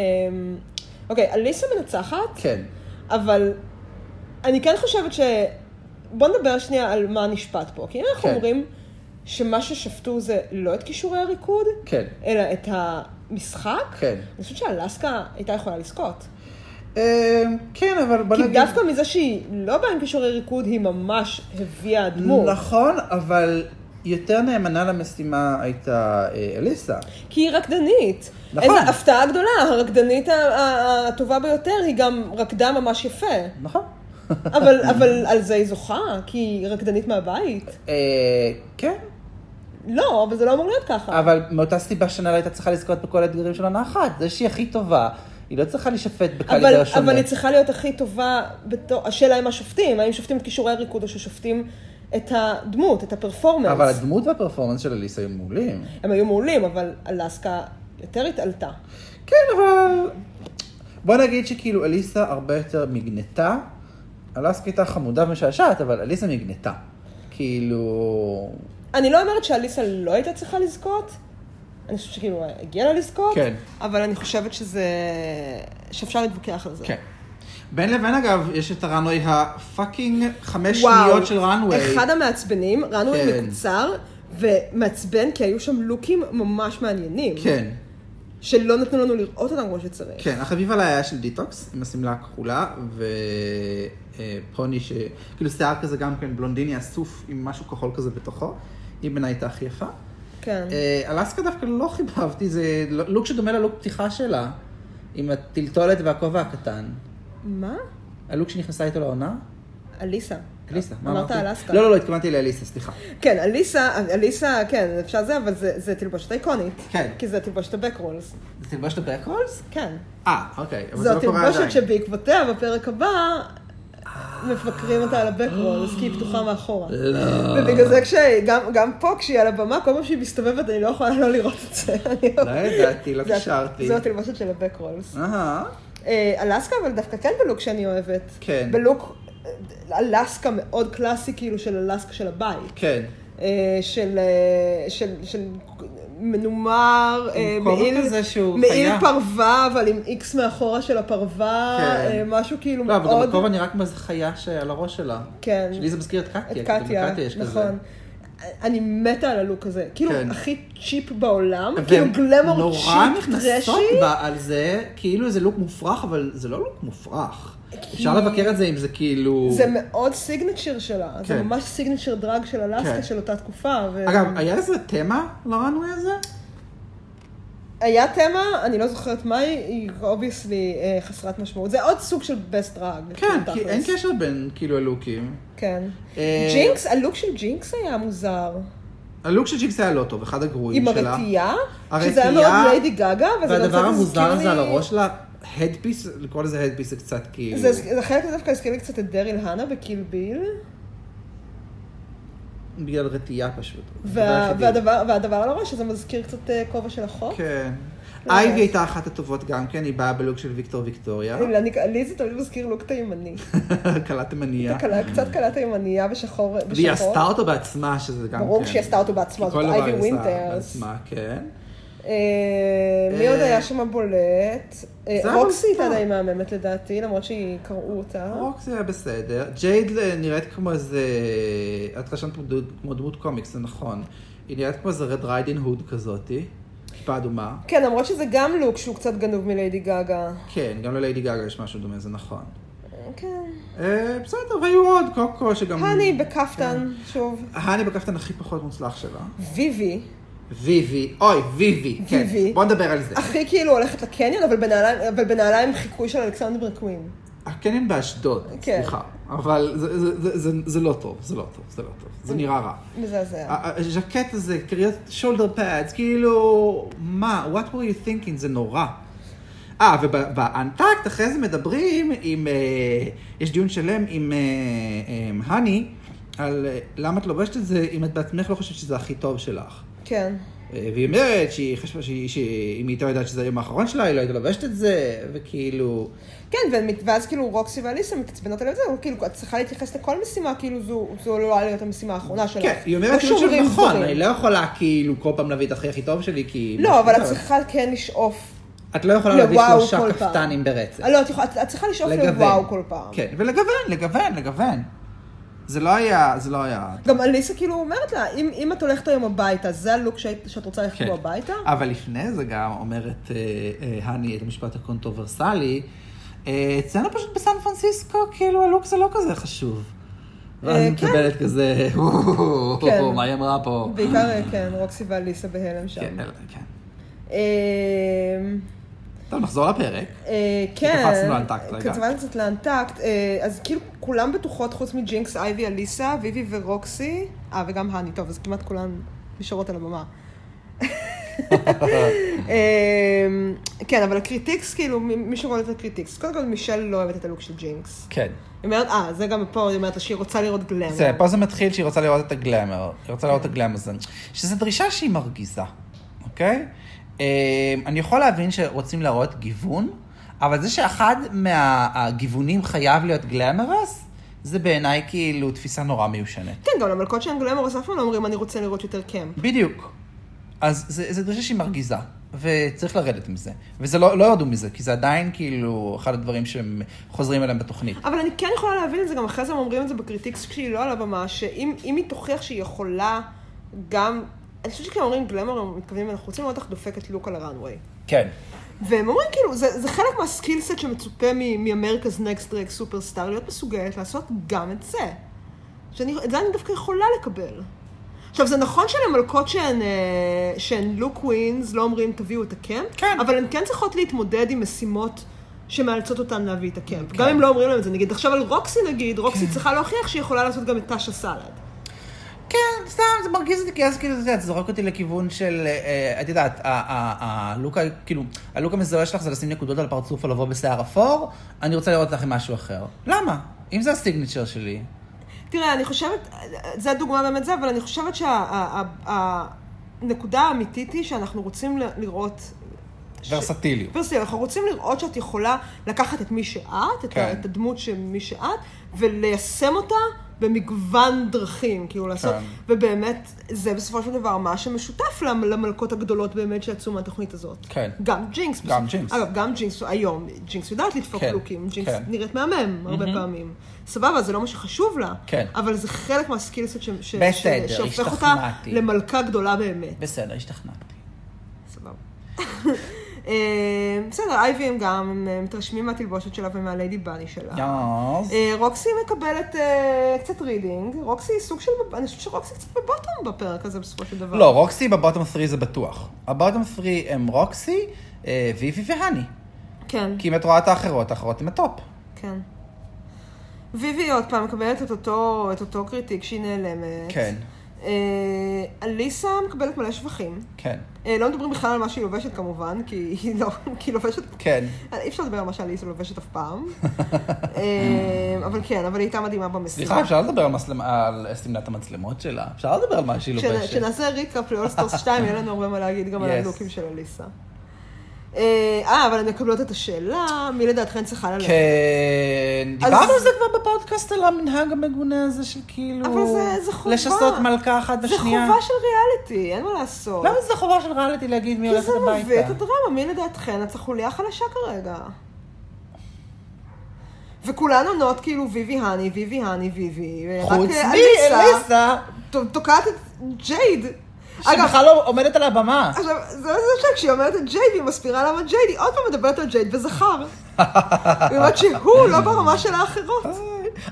[SPEAKER 1] אוקיי, אליסה מנצחת,
[SPEAKER 2] כן.
[SPEAKER 1] אבל אני כן חושבת ש... בוא נדבר שנייה על מה נשפט פה. כי אם אנחנו
[SPEAKER 2] כן.
[SPEAKER 1] אומרים שמה ששפטו זה לא את כישורי הריקוד,
[SPEAKER 2] כן.
[SPEAKER 1] אלא את המשחק,
[SPEAKER 2] כן.
[SPEAKER 1] אני חושבת שאלסקה הייתה יכולה לזכות.
[SPEAKER 2] אה, כן, אבל בוא
[SPEAKER 1] כי
[SPEAKER 2] נגיד...
[SPEAKER 1] דווקא מזה שהיא לא באה עם כישורי ריקוד, היא ממש הביאה דמות.
[SPEAKER 2] נכון, אבל יותר נאמנה למשימה הייתה אה, אליסה.
[SPEAKER 1] כי היא רקדנית.
[SPEAKER 2] נכון.
[SPEAKER 1] איזו הפתעה גדולה, הרקדנית ה- ה- הטובה ביותר, היא גם רקדה ממש יפה.
[SPEAKER 2] נכון.
[SPEAKER 1] אבל, אבל על זה היא זוכה, כי היא רקדנית מהבית.
[SPEAKER 2] אה, כן.
[SPEAKER 1] לא, אבל זה לא אמור להיות ככה.
[SPEAKER 2] אבל מאותה סיבה שנאלה הייתה צריכה לזכות בכל האתגרים של עונה אחת, זה שהיא הכי טובה. היא לא צריכה להישפט
[SPEAKER 1] אבל,
[SPEAKER 2] בקליבר שונה.
[SPEAKER 1] אבל היא צריכה להיות הכי טובה, בתור, השאלה אם השופטים, האם שופטים את כישורי הריקוד או ששופטים את הדמות, את הפרפורמנס.
[SPEAKER 2] אבל הדמות והפרפורמנס של אליסה היו מעולים.
[SPEAKER 1] הם היו מעולים, אבל אלסקה יותר התעלתה.
[SPEAKER 2] כן, אבל... בוא נגיד שכאילו אליסה הרבה יותר נגנתה. אלסקה הייתה חמודה ומשעשעת, אבל אליסה נגנתה. כאילו...
[SPEAKER 1] אני לא אומרת שאליסה לא הייתה צריכה לזכות, אני חושבת שכאילו הגיעה לה לזכות,
[SPEAKER 2] כן.
[SPEAKER 1] אבל אני חושבת שזה... שאפשר להתווכח על זה.
[SPEAKER 2] כן. בין לבין, אגב, יש את הרנוי הפאקינג חמש
[SPEAKER 1] וואו,
[SPEAKER 2] שניות של רנווי.
[SPEAKER 1] אחד המעצבנים, רנווי
[SPEAKER 2] כן.
[SPEAKER 1] מקוצר, ומעצבן כי היו שם לוקים ממש מעניינים.
[SPEAKER 2] כן.
[SPEAKER 1] שלא נתנו לנו לראות אותם כמו שצריך.
[SPEAKER 2] כן, החביב עליי היה של דיטוקס, עם השמלה הכחולה, ופוני ש... כאילו שיער כזה גם כן בלונדיני אסוף עם משהו כחול כזה בתוכו. היא בעיניי הייתה הכי יפה.
[SPEAKER 1] כן.
[SPEAKER 2] אה, אלסקה דווקא לא חיבבתי, זה לא- לוק שדומה ללוק פתיחה שלה, עם הטלטולת והכובע הקטן.
[SPEAKER 1] מה?
[SPEAKER 2] הלוק שנכנסה איתו לעונה?
[SPEAKER 1] אליסה.
[SPEAKER 2] אליסה, מה
[SPEAKER 1] אמרת
[SPEAKER 2] אמרתי?
[SPEAKER 1] אלסקה.
[SPEAKER 2] לא, לא, לא, התכוונתי לאליסה, סליחה.
[SPEAKER 1] כן, אליסה, אליסה, כן, אפשר זה, אבל זה, זה תלבושת איקונית.
[SPEAKER 2] כן.
[SPEAKER 1] כי זה תלבושת הבקרולס.
[SPEAKER 2] זה תלבושת הבקרולס?
[SPEAKER 1] כן.
[SPEAKER 2] אה, אוקיי, אבל זה
[SPEAKER 1] זו
[SPEAKER 2] לא קורה עדיין. אה.
[SPEAKER 1] תלבושת שבעקבותיה, בפרק הבא, מפקרים אותה על הבקרולס, כי היא פתוחה מאחורה.
[SPEAKER 2] לא.
[SPEAKER 1] ובגלל זה כשגם גם פה, כשהיא על הבמה, כל פעם שהיא מסתובבת, אני לא יכולה לא לראות את זה. אני
[SPEAKER 2] לא ידעתי, לא
[SPEAKER 1] זה-
[SPEAKER 2] קשרתי.
[SPEAKER 1] זו התלבושת של הבקרולס.
[SPEAKER 2] אהה,
[SPEAKER 1] אה, אלסקה, אבל דווקא כן בלוק שאני אוהבת.
[SPEAKER 2] כן.
[SPEAKER 1] בלוק אה, אלסקה מאוד קלאסי, כאילו, של אלסקה של הבית.
[SPEAKER 2] כן.
[SPEAKER 1] אה, של, אה, של, של מנומר, אה,
[SPEAKER 2] כובע
[SPEAKER 1] מעיל-
[SPEAKER 2] כזה שהוא
[SPEAKER 1] מעיל
[SPEAKER 2] חיה.
[SPEAKER 1] פרווה, אבל עם איקס מאחורה של הפרווה,
[SPEAKER 2] כן.
[SPEAKER 1] אה, משהו כאילו
[SPEAKER 2] לא, אבל גם
[SPEAKER 1] מאוד...
[SPEAKER 2] הכובע נראה כמו איזה חיה שעל הראש שלה.
[SPEAKER 1] כן.
[SPEAKER 2] שלי זה מזכיר את קטיה.
[SPEAKER 1] את
[SPEAKER 2] כי כאילו, גם
[SPEAKER 1] קטיה,
[SPEAKER 2] לקטיה יש כזה.
[SPEAKER 1] נכון. אני מתה על הלוק הזה, כאילו
[SPEAKER 2] כן.
[SPEAKER 1] הכי צ'יפ בעולם,
[SPEAKER 2] והן
[SPEAKER 1] כאילו גלמור
[SPEAKER 2] נורא
[SPEAKER 1] צ'יפ
[SPEAKER 2] נכנסות
[SPEAKER 1] טרשי.
[SPEAKER 2] בה על זה, כאילו איזה לוק מופרך, אבל זה לא לוק מופרך. אפשר לבקר את זה אם זה כאילו...
[SPEAKER 1] זה מאוד סיגנצ'ר שלה, זה
[SPEAKER 2] כן.
[SPEAKER 1] ממש סיגנצ'ר דרג של
[SPEAKER 2] כן.
[SPEAKER 1] אלסקה של אותה תקופה. ו-
[SPEAKER 2] אגב, היה איזה תמה לרנוי הזה?
[SPEAKER 1] היה תמה, אני לא זוכרת מהי, היא אובייסלי חסרת משמעות. זה עוד סוג של best drag.
[SPEAKER 2] כן, כי
[SPEAKER 1] תכלס.
[SPEAKER 2] אין קשר בין כאילו הלוקים.
[SPEAKER 1] כן.
[SPEAKER 2] אה,
[SPEAKER 1] ג'ינקס, הלוק של ג'ינקס היה מוזר.
[SPEAKER 2] הלוק של ג'ינקס היה לא טוב, אחד הגרועים
[SPEAKER 1] עם
[SPEAKER 2] שלה.
[SPEAKER 1] הרטייה, שזה
[SPEAKER 2] הרטייה,
[SPEAKER 1] היה מאוד ליידי גאגה, וזה גם
[SPEAKER 2] והדבר
[SPEAKER 1] קצת
[SPEAKER 2] המוזר
[SPEAKER 1] הזכיר לי...
[SPEAKER 2] הזה על הראש שלה, הדפיס, לקרוא לזה הדפיס זה קצת כאילו...
[SPEAKER 1] זה- זה חלק הזה דווקא הזכיר לי קצת את דריל הנה בקיל ביל.
[SPEAKER 2] בגלל רטייה פשוט. הדבר
[SPEAKER 1] וה-
[SPEAKER 2] היחידי.
[SPEAKER 1] והדבר והדבר על הראש, שזה מזכיר קצת אה, כובע של החוק.
[SPEAKER 2] כן.
[SPEAKER 1] לא
[SPEAKER 2] אייבי
[SPEAKER 1] יודעת.
[SPEAKER 2] הייתה אחת הטובות גם כן, היא באה בלוק של ויקטור ויקטוריה.
[SPEAKER 1] לא, אני- לי זה תמיד מזכיר לוק תימני.
[SPEAKER 2] קלה תימניה.
[SPEAKER 1] קלה- קצת קלה תימניה בשחור.
[SPEAKER 2] והיא
[SPEAKER 1] בשחור.
[SPEAKER 2] עשתה אותו בעצמה, שזה גם כן.
[SPEAKER 1] ברור שהיא עשתה אותו בעצמה,
[SPEAKER 2] כי
[SPEAKER 1] זאת
[SPEAKER 2] כל דבר
[SPEAKER 1] אייבי
[SPEAKER 2] היא עושה
[SPEAKER 1] ווינטרס.
[SPEAKER 2] בעצמה, כן.
[SPEAKER 1] אה, מי
[SPEAKER 2] אה,
[SPEAKER 1] עוד היה שם בולט? אה,
[SPEAKER 2] זה היה
[SPEAKER 1] רוקסי הייתה
[SPEAKER 2] מוזר.
[SPEAKER 1] די מהממת לדעתי, למרות שהיא קראו אותה.
[SPEAKER 2] רוק זה היה בסדר. ג'ייד אה, נראית כמו איזה... את רשמת פה דוד- כמו דמות קומיקס, זה נכון. היא נראית כמו איזה רד ריידין הוד כזאתי. טיפה אדומה.
[SPEAKER 1] כן, למרות שזה גם לוק שהוא קצת גנוב מליידי גאגה.
[SPEAKER 2] כן, גם לליידי גאגה יש משהו דומה, זה נכון.
[SPEAKER 1] כן.
[SPEAKER 2] אה, בסדר, והיו עוד קוקו שגם...
[SPEAKER 1] האני בקפטן, שוב.
[SPEAKER 2] האני בקפטן הכי פחות מוצלח שלה.
[SPEAKER 1] ויבי,
[SPEAKER 2] ויבי, אוי, ויבי, כן.
[SPEAKER 1] ויבי.
[SPEAKER 2] בוא נדבר על זה.
[SPEAKER 1] הכי כאילו הולכת לקניון, אבל בנעליים- אבל בנעליים חיקוי של אלכסנדר קווין.
[SPEAKER 2] הקניון באשדוד,
[SPEAKER 1] כן.
[SPEAKER 2] סליחה. אבל זה- זה- זה- זה- זה לא טוב, זה לא טוב, זה לא טוב. זה נראה רע.
[SPEAKER 1] מזעזע.
[SPEAKER 2] ה- ה- הז'קט הזה, קריאות שולדר פאדס, כאילו, מה, what were you thinking, זה נורא. אה, ובאנטקט אחרי זה מדברים עם, אה, יש דיון שלם עם אה, אה, הני, על אה, למה את לובשת את זה, אם את בעצמך לא חושבת שזה הכי טוב שלך.
[SPEAKER 1] כן.
[SPEAKER 2] אה, והיא אומרת שהיא חשבה שהיא- שאם היא הייתה יודעת שזה היום האחרון שלה, היא לא הייתה לובשת את זה, וכאילו...
[SPEAKER 1] כן, ומת- ואז כאילו רוקסי ואליסה מתעצבנות עליו, זהו, כאילו, את צריכה להתייחס לכל משימה, כאילו זו- זו לא עליה להיות המשימה האחרונה שלך.
[SPEAKER 2] כן, היא
[SPEAKER 1] לא
[SPEAKER 2] אומרת כאילו
[SPEAKER 1] שומרים
[SPEAKER 2] נכון,
[SPEAKER 1] דברים.
[SPEAKER 2] אני לא יכולה כאילו כל פעם להביא את הכי הכי טוב שלי, כי...
[SPEAKER 1] לא, אבל את צריכה כן לשאוף
[SPEAKER 2] את לא יכולה להביא
[SPEAKER 1] לוואו
[SPEAKER 2] שלושה
[SPEAKER 1] כל פעם.
[SPEAKER 2] כפתנים ברצף.
[SPEAKER 1] אה, לא, את יכולה- את- את צריכה לשאוף
[SPEAKER 2] לגוון.
[SPEAKER 1] לוואו כל פעם.
[SPEAKER 2] כן, ולגוון, לגוון, לגוון. זה לא היה, זה לא היה...
[SPEAKER 1] גם אליסה כאילו אומרת לה, אם, אם את הולכת היום הביתה, זה הלוק שאת, שאת רוצה ללכת
[SPEAKER 2] כן.
[SPEAKER 1] בו הביתה?
[SPEAKER 2] אבל לפני זה גם אומרת אה, אה, הני את המשפט הקונטרוברסלי, אה, אצלנו פשוט בסן פרנסיסקו, כאילו הלוק זה לא כזה חשוב. ואז
[SPEAKER 1] אה,
[SPEAKER 2] היא
[SPEAKER 1] כן.
[SPEAKER 2] מקבלת כזה,
[SPEAKER 1] כן.
[SPEAKER 2] מה היא אמרה פה?
[SPEAKER 1] בעיקר, אה, כן, רוקסי ואליסה בהלם שם.
[SPEAKER 2] כן, כן.
[SPEAKER 1] אמ,
[SPEAKER 2] טוב, נחזור לפרק.
[SPEAKER 1] אה, כן,
[SPEAKER 2] קפצנו לאנטקט רגע.
[SPEAKER 1] קפצנו קצת לאנטקט, אה, אז כאילו כולם בטוחות חוץ מג'ינקס, אייבי, אליסה, ויבי ורוקסי, אה וגם האני, טוב, אז כמעט כולן נשארות על הבמה. אה, כן, אבל הקריטיקס, כאילו, מי מי שרואה את הקריטיקס, קודם כל מישל לא אוהבת את הלוק של ג'ינקס.
[SPEAKER 2] כן.
[SPEAKER 1] היא אומרת, אה, זה גם פה, היא אומרת לה שהיא רוצה לראות גלם.
[SPEAKER 2] זה, פה זה מתחיל שהיא רוצה לראות את הגלמר, היא רוצה לראות את הגלמזון, שזו דרישה שהיא מרגיזה, אוקיי? אמ, אני יכול להבין שרוצים להראות גיוון, אבל זה שאחד מהגיוונים חייב להיות גלמרס, זה בעיניי כאילו תפיסה נורא מיושנת.
[SPEAKER 1] כן, גם למלכות שהן גלמרוס אף פעם לא אומרים, אני רוצה לראות יותר קמפ.
[SPEAKER 2] בדיוק. אז זה- זו דרישה שהיא מרגיזה, וצריך לרדת מזה. וזה לא לא ירדו מזה, כי זה עדיין כאילו אחד הדברים שהם חוזרים אליהם בתוכנית.
[SPEAKER 1] אבל אני כן יכולה להבין את זה, גם אחרי זה הם אומרים את זה בקריטיקס כשהיא לא על הבמה, שאם אם היא תוכיח שהיא יכולה גם... אני חושבת שכשהם אומרים גלמר, הם מתכוונים, אנחנו רוצים לראות אותך דופקת לוק על הראנוויי.
[SPEAKER 2] כן.
[SPEAKER 1] והם אומרים, כאילו, זה, זה חלק מהסקילסט שמצופה מאמריקה's Next Drag סופרסטאר, להיות מסוגלת לעשות גם את זה. שאני, את זה אני דווקא יכולה לקבל. עכשיו, זה נכון שלמלכות שהן, אה, שהן לוק ווינס לא אומרים תביאו את הקמפ,
[SPEAKER 2] כן.
[SPEAKER 1] אבל הן כן צריכות להתמודד עם משימות שמאלצות אותן להביא את הקמפ. גם אם לא אומרים להם את זה, נגיד, עכשיו על רוקסי נגיד, רוקסי צריכה להוכיח שהיא יכולה לעשות גם את טאשה סלד.
[SPEAKER 2] כן, סתם, זה מרגיז אותי, כי אז כאילו, אתה יודע, זה זורק אותי לכיוון של, אה, את יודעת, ה- ה- ה- הלוק, ה- כאילו, הלוק המזוהה שלך זה לשים נקודות על הפרצוף או לבוא בשיער אפור, אני רוצה לראות אותך עם משהו אחר. למה? אם זה הסיגניצ'ר שלי.
[SPEAKER 1] תראה, אני חושבת, זו דוגמה באמת זה, אבל אני חושבת שהנקודה האמיתית היא שאנחנו רוצים ל- לראות... ש-
[SPEAKER 2] ורסטיליות.
[SPEAKER 1] ורסטיליות, אנחנו רוצים לראות שאת יכולה לקחת את מי שאת, את,
[SPEAKER 2] כן.
[SPEAKER 1] ה, את הדמות של מי שאת, וליישם אותה במגוון דרכים, כאילו לעשות,
[SPEAKER 2] כן.
[SPEAKER 1] ובאמת, זה בסופו של דבר מה שמשותף למ- למלכות הגדולות באמת שיצאו מהתוכנית הזאת.
[SPEAKER 2] כן.
[SPEAKER 1] גם ג'ינקס.
[SPEAKER 2] גם ג'ינקס.
[SPEAKER 1] אגב, גם ג'ינקס היום, ג'ינקס יודעת לדפוק
[SPEAKER 2] כן,
[SPEAKER 1] לוקים, ג'ינקס
[SPEAKER 2] כן.
[SPEAKER 1] נראית מהמם הרבה פעמים. סבבה, זה לא מה שחשוב לה,
[SPEAKER 2] כן.
[SPEAKER 1] אבל זה חלק מהסקילסט ש- ש- ש-
[SPEAKER 3] בסדר,
[SPEAKER 1] שהופך אותה
[SPEAKER 3] השתכנעתי.
[SPEAKER 1] למלכה גדולה באמת.
[SPEAKER 3] בסדר, השתכנעתי.
[SPEAKER 1] סבבה. אה, בסדר, אייבי הם גם הם, אה, מתרשמים מהתלבושת שלה ומהליידי בני שלה.
[SPEAKER 2] יאז.
[SPEAKER 1] אה, רוקסי מקבלת אה, קצת רידינג, רוקסי היא סוג של, אני חושבת שרוקסי קצת בבוטום בפרק הזה בסופו של דבר.
[SPEAKER 2] לא, רוקסי בבוטום 3 זה בטוח. הבוטום 3 הם רוקסי, אה, ויפי והני.
[SPEAKER 1] כן,
[SPEAKER 2] כי אם את רואה את האחרות, האחרות הן הטופ.
[SPEAKER 1] כן. ויבי עוד פעם מקבלת את אותו, את אותו קריטיק שהיא נעלמת.
[SPEAKER 2] כן,
[SPEAKER 1] אה, אליסה מקבלת מלא שבחים.
[SPEAKER 2] כן,
[SPEAKER 1] אה, לא מדברים בכלל על מה שהיא לובשת כמובן, כי היא לא, כי היא לובשת
[SPEAKER 2] כן.
[SPEAKER 1] אה, אי אפשר לדבר על מה שאליסה לובשת אף פעם. אמ, אבל כן, אבל היא הייתה מדהימה במסיבה.
[SPEAKER 2] סליחה, אפשר לדבר על מצלמ- על סמנת המצלמות שלה? אפשר לדבר על מה שהיא
[SPEAKER 1] כשנ-
[SPEAKER 2] לובשת.
[SPEAKER 1] כשנעשה ריקאפ לאולסטרס 2, יהיה לנו הרבה מה להגיד גם על
[SPEAKER 2] Yes.
[SPEAKER 1] הלוקים של אליסה. אה, אה, אבל הן מקבלות את השאלה, מי לדעתכן צריכה ללכת?
[SPEAKER 2] כן,
[SPEAKER 1] אז-
[SPEAKER 2] דיברנו על זה כבר בפודקאסט, על המנהג המגונה הזה של כאילו...
[SPEAKER 1] אבל זה- זה חובה.
[SPEAKER 2] לשסות מלכה אחת
[SPEAKER 1] זה
[SPEAKER 2] בשנייה.
[SPEAKER 1] חובה של ריאליטי, אין מה לעשות.
[SPEAKER 3] למה זה חובה של ריאליטי להגיד מי
[SPEAKER 1] כי
[SPEAKER 3] הולכת
[SPEAKER 1] זה מביא את
[SPEAKER 3] הביתה?
[SPEAKER 1] הדרמה, מי לדעתכן? את החוליה חלשה כרגע. וכולן עונות כאילו ויבי הני, ויבי הני, ויבי. ורק,
[SPEAKER 3] חוץ
[SPEAKER 1] אה,
[SPEAKER 3] מאליסה,
[SPEAKER 1] ת- תוקעת את ג'ייד. אגב,
[SPEAKER 3] שבכלל לא עומדת על הבמה.
[SPEAKER 1] עכשיו, זה מה זה שכשהיא אומרת את ג'ייד, היא מסבירה למה ג'ייד, היא עוד פעם מדברת על ג'ייד בזכר. היא אומרת שהוא לא ברמה של האחרות.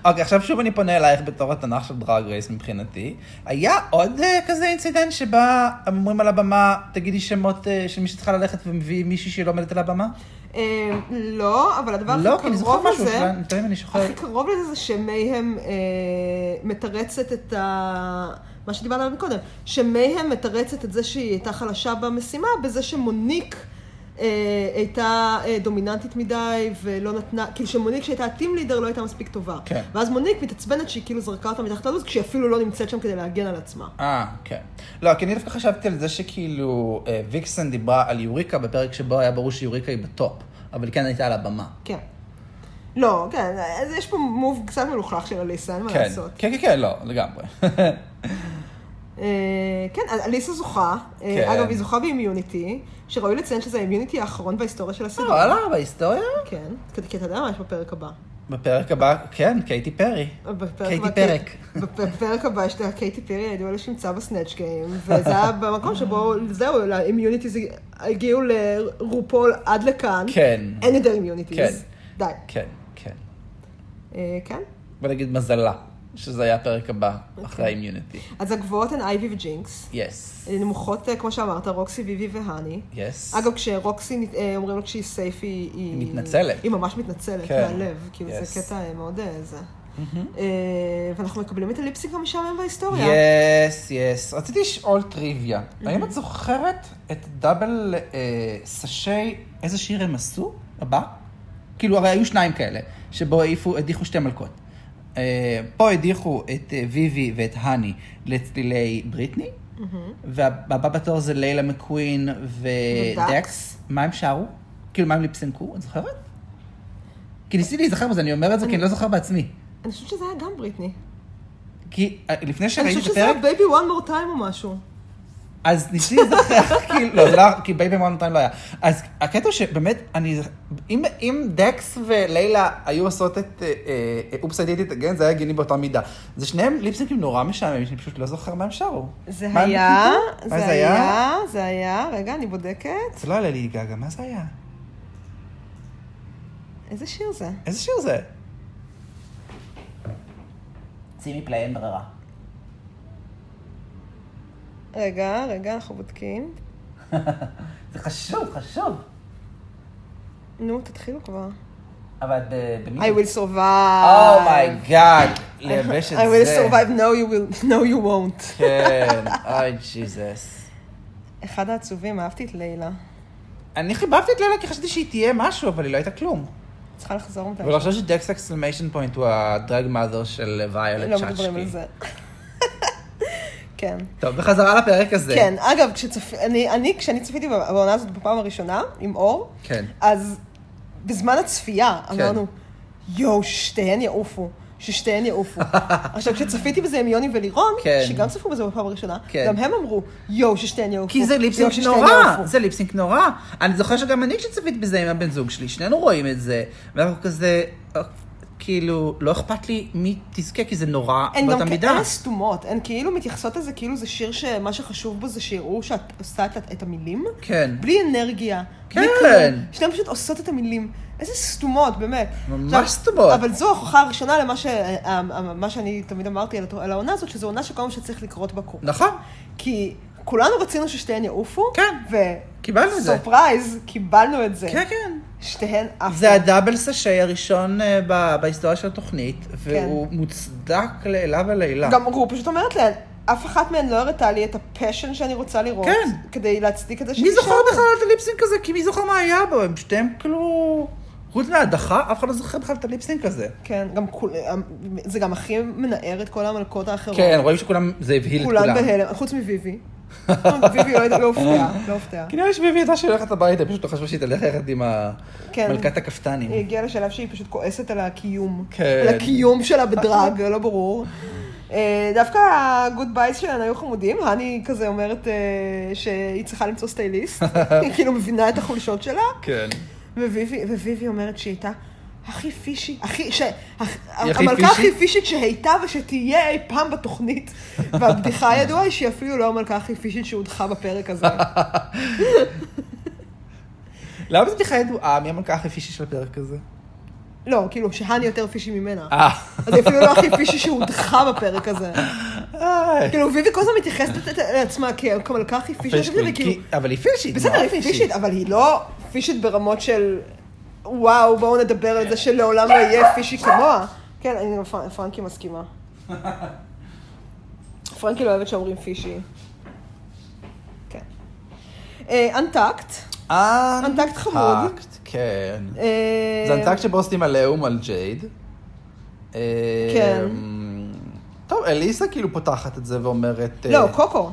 [SPEAKER 2] אוקיי, עכשיו שוב אני פונה אלייך בתור התנ"ך של דרג רייס מבחינתי. היה עוד אה, כזה אינצידנט שבה אומרים על הבמה, תגידי שמות אה, של מי שצריכה ללכת ומביא מישהי שלא עומדת על הבמה?
[SPEAKER 1] אה, לא, אבל הדבר
[SPEAKER 2] לא, כי
[SPEAKER 1] הכי
[SPEAKER 2] אני זוכרת
[SPEAKER 1] קרוב
[SPEAKER 2] משהו,
[SPEAKER 1] לזה,
[SPEAKER 2] שלה- אני טועה אם אני
[SPEAKER 1] הכי
[SPEAKER 2] שוכרת.
[SPEAKER 1] קרוב לזה זה שמייהם אה, מתרצת את ה... מה שדיברנו עליו קודם, שמייהם מתרצת את זה שהיא הייתה חלשה במשימה, בזה שמוניק אה, הייתה אה, דומיננטית מדי ולא נתנה, כאילו שמוניק שהייתה הטים לידר לא הייתה מספיק טובה.
[SPEAKER 2] כן.
[SPEAKER 1] ואז מוניק מתעצבנת שהיא כאילו זרקה אותה מתחת ללו"ז, כשהיא אפילו לא נמצאת שם כדי להגן על עצמה.
[SPEAKER 2] אה, כן. לא, כי אני דווקא חשבתי על זה שכאילו אה, ויקסן דיברה על יוריקה בפרק שבו היה ברור שיוריקה היא בטופ, אבל היא כן הייתה על הבמה.
[SPEAKER 1] כן. לא, כן, אז יש פה מוב קצת מלוכלך של אליסה, אין מה
[SPEAKER 2] כן,
[SPEAKER 1] לעשות.
[SPEAKER 2] כן, כן, כן, לא, לגמרי.
[SPEAKER 1] אה, כן, אז אליסה זוכה. אה,
[SPEAKER 2] כן.
[SPEAKER 1] אגב, היא זוכה באימיוניטי, שראוי לציין שזה האימיוניטי האחרון בהיסטוריה של
[SPEAKER 2] לא,
[SPEAKER 1] הסדרה.
[SPEAKER 2] עלה בהיסטוריה?
[SPEAKER 1] כן, כי- כי אתה יודע מה יש בפרק הבא.
[SPEAKER 2] בפרק הבא, כן, קייטי פרי.
[SPEAKER 1] בפרק
[SPEAKER 2] קייטי
[SPEAKER 1] הבא- כן.
[SPEAKER 2] פרק.
[SPEAKER 1] בפ- בפרק הבא יש את קייטי פרי, הידוע לשמצה בסנאצ' גיים, וזה היה במקום שבו, זהו, לאימיוניטי הגיעו לרופול עד לכאן.
[SPEAKER 2] כן.
[SPEAKER 1] אין יותר אימיוניטיז.
[SPEAKER 2] כן.
[SPEAKER 1] די.
[SPEAKER 2] כן, כן.
[SPEAKER 1] אה, כן.
[SPEAKER 2] בוא נגיד מזלה, שזה היה הפרק הבא, אחרי האימיוניטי.
[SPEAKER 1] אז הגבוהות הן אייבי וג'ינקס.
[SPEAKER 2] יס.
[SPEAKER 1] נמוכות, אה, כמו שאמרת, רוקסי, ויבי והני.
[SPEAKER 2] יס.
[SPEAKER 1] אגב, כשרוקסי, נת- אה, אומרים לו כשהיא סייף, היא... היא
[SPEAKER 2] מתנצלת.
[SPEAKER 1] היא ממש מתנצלת
[SPEAKER 2] כן.
[SPEAKER 1] מהלב, כאילו
[SPEAKER 2] Yes. Mm-hmm.
[SPEAKER 1] זה קטע אה, מאוד אה, זה. אה, ואנחנו מקבלים את הליפסינג המשעמם בהיסטוריה.
[SPEAKER 2] יס, יס. רציתי לשאול טריוויה.
[SPEAKER 1] Mhm.
[SPEAKER 2] האם את זוכרת את דאבל אה, סשי, איזה שיר הם עשו? הבא? כאילו, הרי היו שניים כאלה, שבו העיפו, הדיחו שתי מלכות. אה, פה הדיחו את אה, ויבי ואת האני לצלילי בריטני,
[SPEAKER 1] Mhm.
[SPEAKER 2] והבא בתור זה ליילה מקווין
[SPEAKER 1] ודקס.
[SPEAKER 2] ודקס. מה הם שרו? כאילו, מה הם ליפסינקו? את זוכרת? כי
[SPEAKER 1] אה.
[SPEAKER 2] ניסיתי להיזכר בזה, אני אומר את זה כי אני לא זוכר בעצמי.
[SPEAKER 1] אני חושבת שזה היה גם בריטני.
[SPEAKER 2] כי אה, לפני
[SPEAKER 1] אני
[SPEAKER 2] שראיתי
[SPEAKER 1] חושבת
[SPEAKER 2] את
[SPEAKER 1] שזה
[SPEAKER 2] הפרק,
[SPEAKER 1] היה בייבי one more time או משהו.
[SPEAKER 2] אז ניסיתי לזכר, כאילו, לא, לא, כי בייבי וואן טיים לא היה. אז הקטע הוא שבאמת, אני, אם, אם דקס ולילה היו עושות את אה, אופס הייתי תגן, זה היה הגיוני באותה מידה. זה שניהם ליפסינקים נורא משעממים, שאני פשוט לא זוכר מה הם שרו.
[SPEAKER 1] זה
[SPEAKER 2] מה הם
[SPEAKER 1] היה,
[SPEAKER 2] קיבלו? מה
[SPEAKER 1] זה היה, זה היה, רגע, אני בודקת.
[SPEAKER 2] זה לא היה לילי גגה, מה זה היה?
[SPEAKER 1] איזה שיר זה?
[SPEAKER 2] איזה שיר זה? שימי פליי, אין ברירה.
[SPEAKER 1] רגע, רגע, אנחנו בודקים.
[SPEAKER 2] זה חשוב, חשוב.
[SPEAKER 1] נו, תתחילו כבר.
[SPEAKER 2] Mm. אבל את ב-
[SPEAKER 1] I
[SPEAKER 2] Oh במי?
[SPEAKER 1] will survive.
[SPEAKER 2] אומייגאד, לייבש את
[SPEAKER 1] I will
[SPEAKER 2] זה.
[SPEAKER 1] survive, no you will, no you won't.
[SPEAKER 2] כן, אוי, ג'יזוס.
[SPEAKER 1] אחד העצובים, אהבתי את לילה.
[SPEAKER 2] אני חיבבתי את לילה כי חשבתי שהיא תהיה משהו, אבל היא לא הייתה כלום.
[SPEAKER 1] צריכה לחזור מתי.
[SPEAKER 2] אבל עכשיו שדקס אקסלמיישן פוינט הוא הדרג מאזר של ויולט
[SPEAKER 1] לא מדברים על
[SPEAKER 2] צ'אצ'קי.
[SPEAKER 1] זה. כן.
[SPEAKER 2] טוב, בחזרה לפרק הזה.
[SPEAKER 1] כן, אגב, כשצפ... אני, אני, כשאני צפיתי בעונה הזאת בפעם הראשונה, עם אור,
[SPEAKER 2] כן.
[SPEAKER 1] אז בזמן הצפייה אמרנו, יואו, שתיהן יעופו. ששתיהן יעופו. עכשיו, כשצפיתי בזה עם יוני ולירון,
[SPEAKER 2] כן.
[SPEAKER 1] שגם צפו בזה בפעם הראשונה,
[SPEAKER 2] כן.
[SPEAKER 1] גם הם אמרו, יואו, ששתיהן יעופו.
[SPEAKER 2] כי זה
[SPEAKER 1] יואו,
[SPEAKER 2] ליפסינק
[SPEAKER 1] ששתיהן
[SPEAKER 2] נורא,
[SPEAKER 1] יעופו."
[SPEAKER 2] זה ליפסינק נורא. אני זוכר שגם אני כשצפית בזה עם הבן זוג שלי, שנינו רואים את זה. ואנחנו כזה, אה, כאילו, לא אכפת לי מי תזכה, כי זה נורא
[SPEAKER 1] הן
[SPEAKER 2] באותה
[SPEAKER 1] גם
[SPEAKER 2] מידה.
[SPEAKER 1] כאלה סתומות, הן כאילו מתייחסות לזה כאילו זה שיר שמה שחשוב בו זה שיראו שאת עושה את, את המילים.
[SPEAKER 2] כן.
[SPEAKER 1] בלי אנרגיה. בלי
[SPEAKER 2] כן.
[SPEAKER 1] כלום. שאתן פשוט עושות את המילים. איזה סתומות, באמת.
[SPEAKER 2] ממש
[SPEAKER 1] עכשיו,
[SPEAKER 2] סתומות.
[SPEAKER 1] אבל זו ההוכחה הראשונה למה ש, אה, אה, מה שאני תמיד אמרתי על, התו- על העונה הזאת, שזו עונה שכל מה שצריך לקרות בקור.
[SPEAKER 2] נכון.
[SPEAKER 1] כי כולנו רצינו ששתיהן יעופו.
[SPEAKER 2] כן. קיבלנו את זה.
[SPEAKER 1] וסופרייז, קיבלנו את זה.
[SPEAKER 2] כן, כן.
[SPEAKER 1] שתיהן עפו.
[SPEAKER 2] זה הדאבל סשי הראשון אה, ב- בהיסטוריה של התוכנית, והוא
[SPEAKER 1] כן.
[SPEAKER 2] מוצדק לעילה ולעילה.
[SPEAKER 1] גם הוא פשוט אומרת להן, אף אחת מהן לא הראתה לי את הפשן שאני רוצה לראות.
[SPEAKER 2] כן.
[SPEAKER 1] כדי להצדיק את זה
[SPEAKER 2] מי זוכר
[SPEAKER 1] שם."
[SPEAKER 2] בכלל את הליפסינק הזה? כי מי זוכר מה היה בו? הם שתיהם כאילו... חוץ מההדחה, אף אחד לא זוכר בכלל את הליפסינק הזה.
[SPEAKER 1] כן, גם כול- זה גם הכי מנער את כל המלכות האחרות.
[SPEAKER 2] כן, רואים שכולם, זה הבהיל את כולם.
[SPEAKER 1] כולן בהלם, חוץ מביבי. ביבי לא לא הופתעה, לא הופתעה.
[SPEAKER 2] כי נראה לי שביבי הייתה שהולכת הביתה, פשוט לא חשבה שהיא תלך יחד עם ה-
[SPEAKER 1] כן.
[SPEAKER 2] מלכת
[SPEAKER 1] היא
[SPEAKER 2] הכפתנים.
[SPEAKER 1] הגיעה לשלב שהיא פשוט כועסת על הקיום.
[SPEAKER 2] כן.
[SPEAKER 1] על הקיום שלה בדרג, לא ברור. אה, דווקא הגוד בייס שלהן היו חמודים, האני כזה אומרת אה, שהיא צריכה למצוא סטייליסט, היא כאילו מבינה את החולשות שלה,
[SPEAKER 2] כן.
[SPEAKER 1] וביבי, וביבי אומרת שהיא הייתה הכי פישי, הכי, ש... הכ...
[SPEAKER 2] היא הכי
[SPEAKER 1] המלכה
[SPEAKER 2] פישי?
[SPEAKER 1] הכי פישית שהייתה ושתהיה אי פעם בתוכנית. והבדיחה הידועה היא שהיא אפילו לא המלכה הכי פישית שהודחה בפרק הזה.
[SPEAKER 2] למה זה בכלל ידועה? מי המלכה הכי פישי של הפרק הזה?
[SPEAKER 1] לא, כאילו, שהני יותר פישי ממנה.
[SPEAKER 2] אה.
[SPEAKER 1] אז היא אפילו לא הכי פישי שהודחה בפרק הזה.
[SPEAKER 2] איי.
[SPEAKER 1] כאילו, ויבי כל הזמן מתייחסת לת- לעצמה כ- כמלכה הכי פישית,
[SPEAKER 2] פישית,
[SPEAKER 1] וכאילו,
[SPEAKER 2] כי- אבל היא פישית.
[SPEAKER 1] בסדר,
[SPEAKER 2] נורא
[SPEAKER 1] היא פישית, אבל היא לא פישית ברמות של, וואו, בואו נדבר על זה שלעולם לא יהיה פישי כמוה. כן, אני גם פר- פרנקי מסכימה. פרנקי לא אוהבת שאומרים פישי. כן. אנטקט.
[SPEAKER 2] אנטקט.
[SPEAKER 1] אנטקט חמוד. אה,
[SPEAKER 2] כן. זה אנטקט שבו עושים עליהום על ג'ייד. אה,
[SPEAKER 1] כן.
[SPEAKER 2] טוב, אליסה כאילו פותחת את זה ואומרת...
[SPEAKER 1] לא,
[SPEAKER 2] אה,
[SPEAKER 1] קוקו.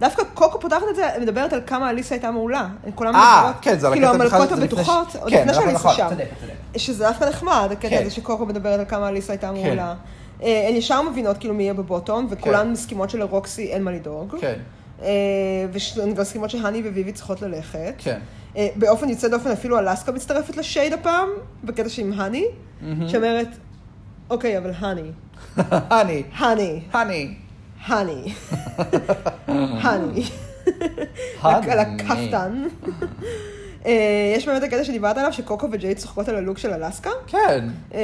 [SPEAKER 1] דווקא קוקו פותחת את זה, מדברת על כמה אליסה הייתה מעולה. הן כולן
[SPEAKER 2] אה,
[SPEAKER 1] מדברות,
[SPEAKER 2] כן, זה על
[SPEAKER 1] כאילו
[SPEAKER 2] הקטע בכלל,
[SPEAKER 1] המלכות
[SPEAKER 2] זה לפני ש-
[SPEAKER 1] הבטוחות, עוד
[SPEAKER 2] כן,
[SPEAKER 1] לפני
[SPEAKER 2] נכון,
[SPEAKER 1] שאליסה
[SPEAKER 2] נכון,
[SPEAKER 1] שם.
[SPEAKER 2] צודקת, צודקת.
[SPEAKER 1] שזה דווקא נחמד, הקטע
[SPEAKER 2] כן.
[SPEAKER 1] הזה שקוקו מדברת על כמה אליסה הייתה מעולה. אה, הן ישר מבינות כאילו מי יהיה בבוטום, וכולן
[SPEAKER 2] כן.
[SPEAKER 1] מסכימות שלרוקסי אין מה לדאוג.
[SPEAKER 2] כן.
[SPEAKER 1] אה, והן גם מסכימות שהני וויבי צריכות ללכת.
[SPEAKER 2] כן.
[SPEAKER 1] אה, באופן יוצא דופן אפילו אלסקה מצטרפת לשייד הפעם, בקטע שעם הני, שאומרת, אוקיי, אבל הני,
[SPEAKER 2] הני.
[SPEAKER 1] הני,
[SPEAKER 2] הני.
[SPEAKER 1] הני, הני.
[SPEAKER 2] הני.
[SPEAKER 1] על הכפתן. אה, יש באמת הקטע שדיברת עליו, שקוקו וג'יי צוחקות על הלוק של אלסקה.
[SPEAKER 2] כן.
[SPEAKER 1] אה,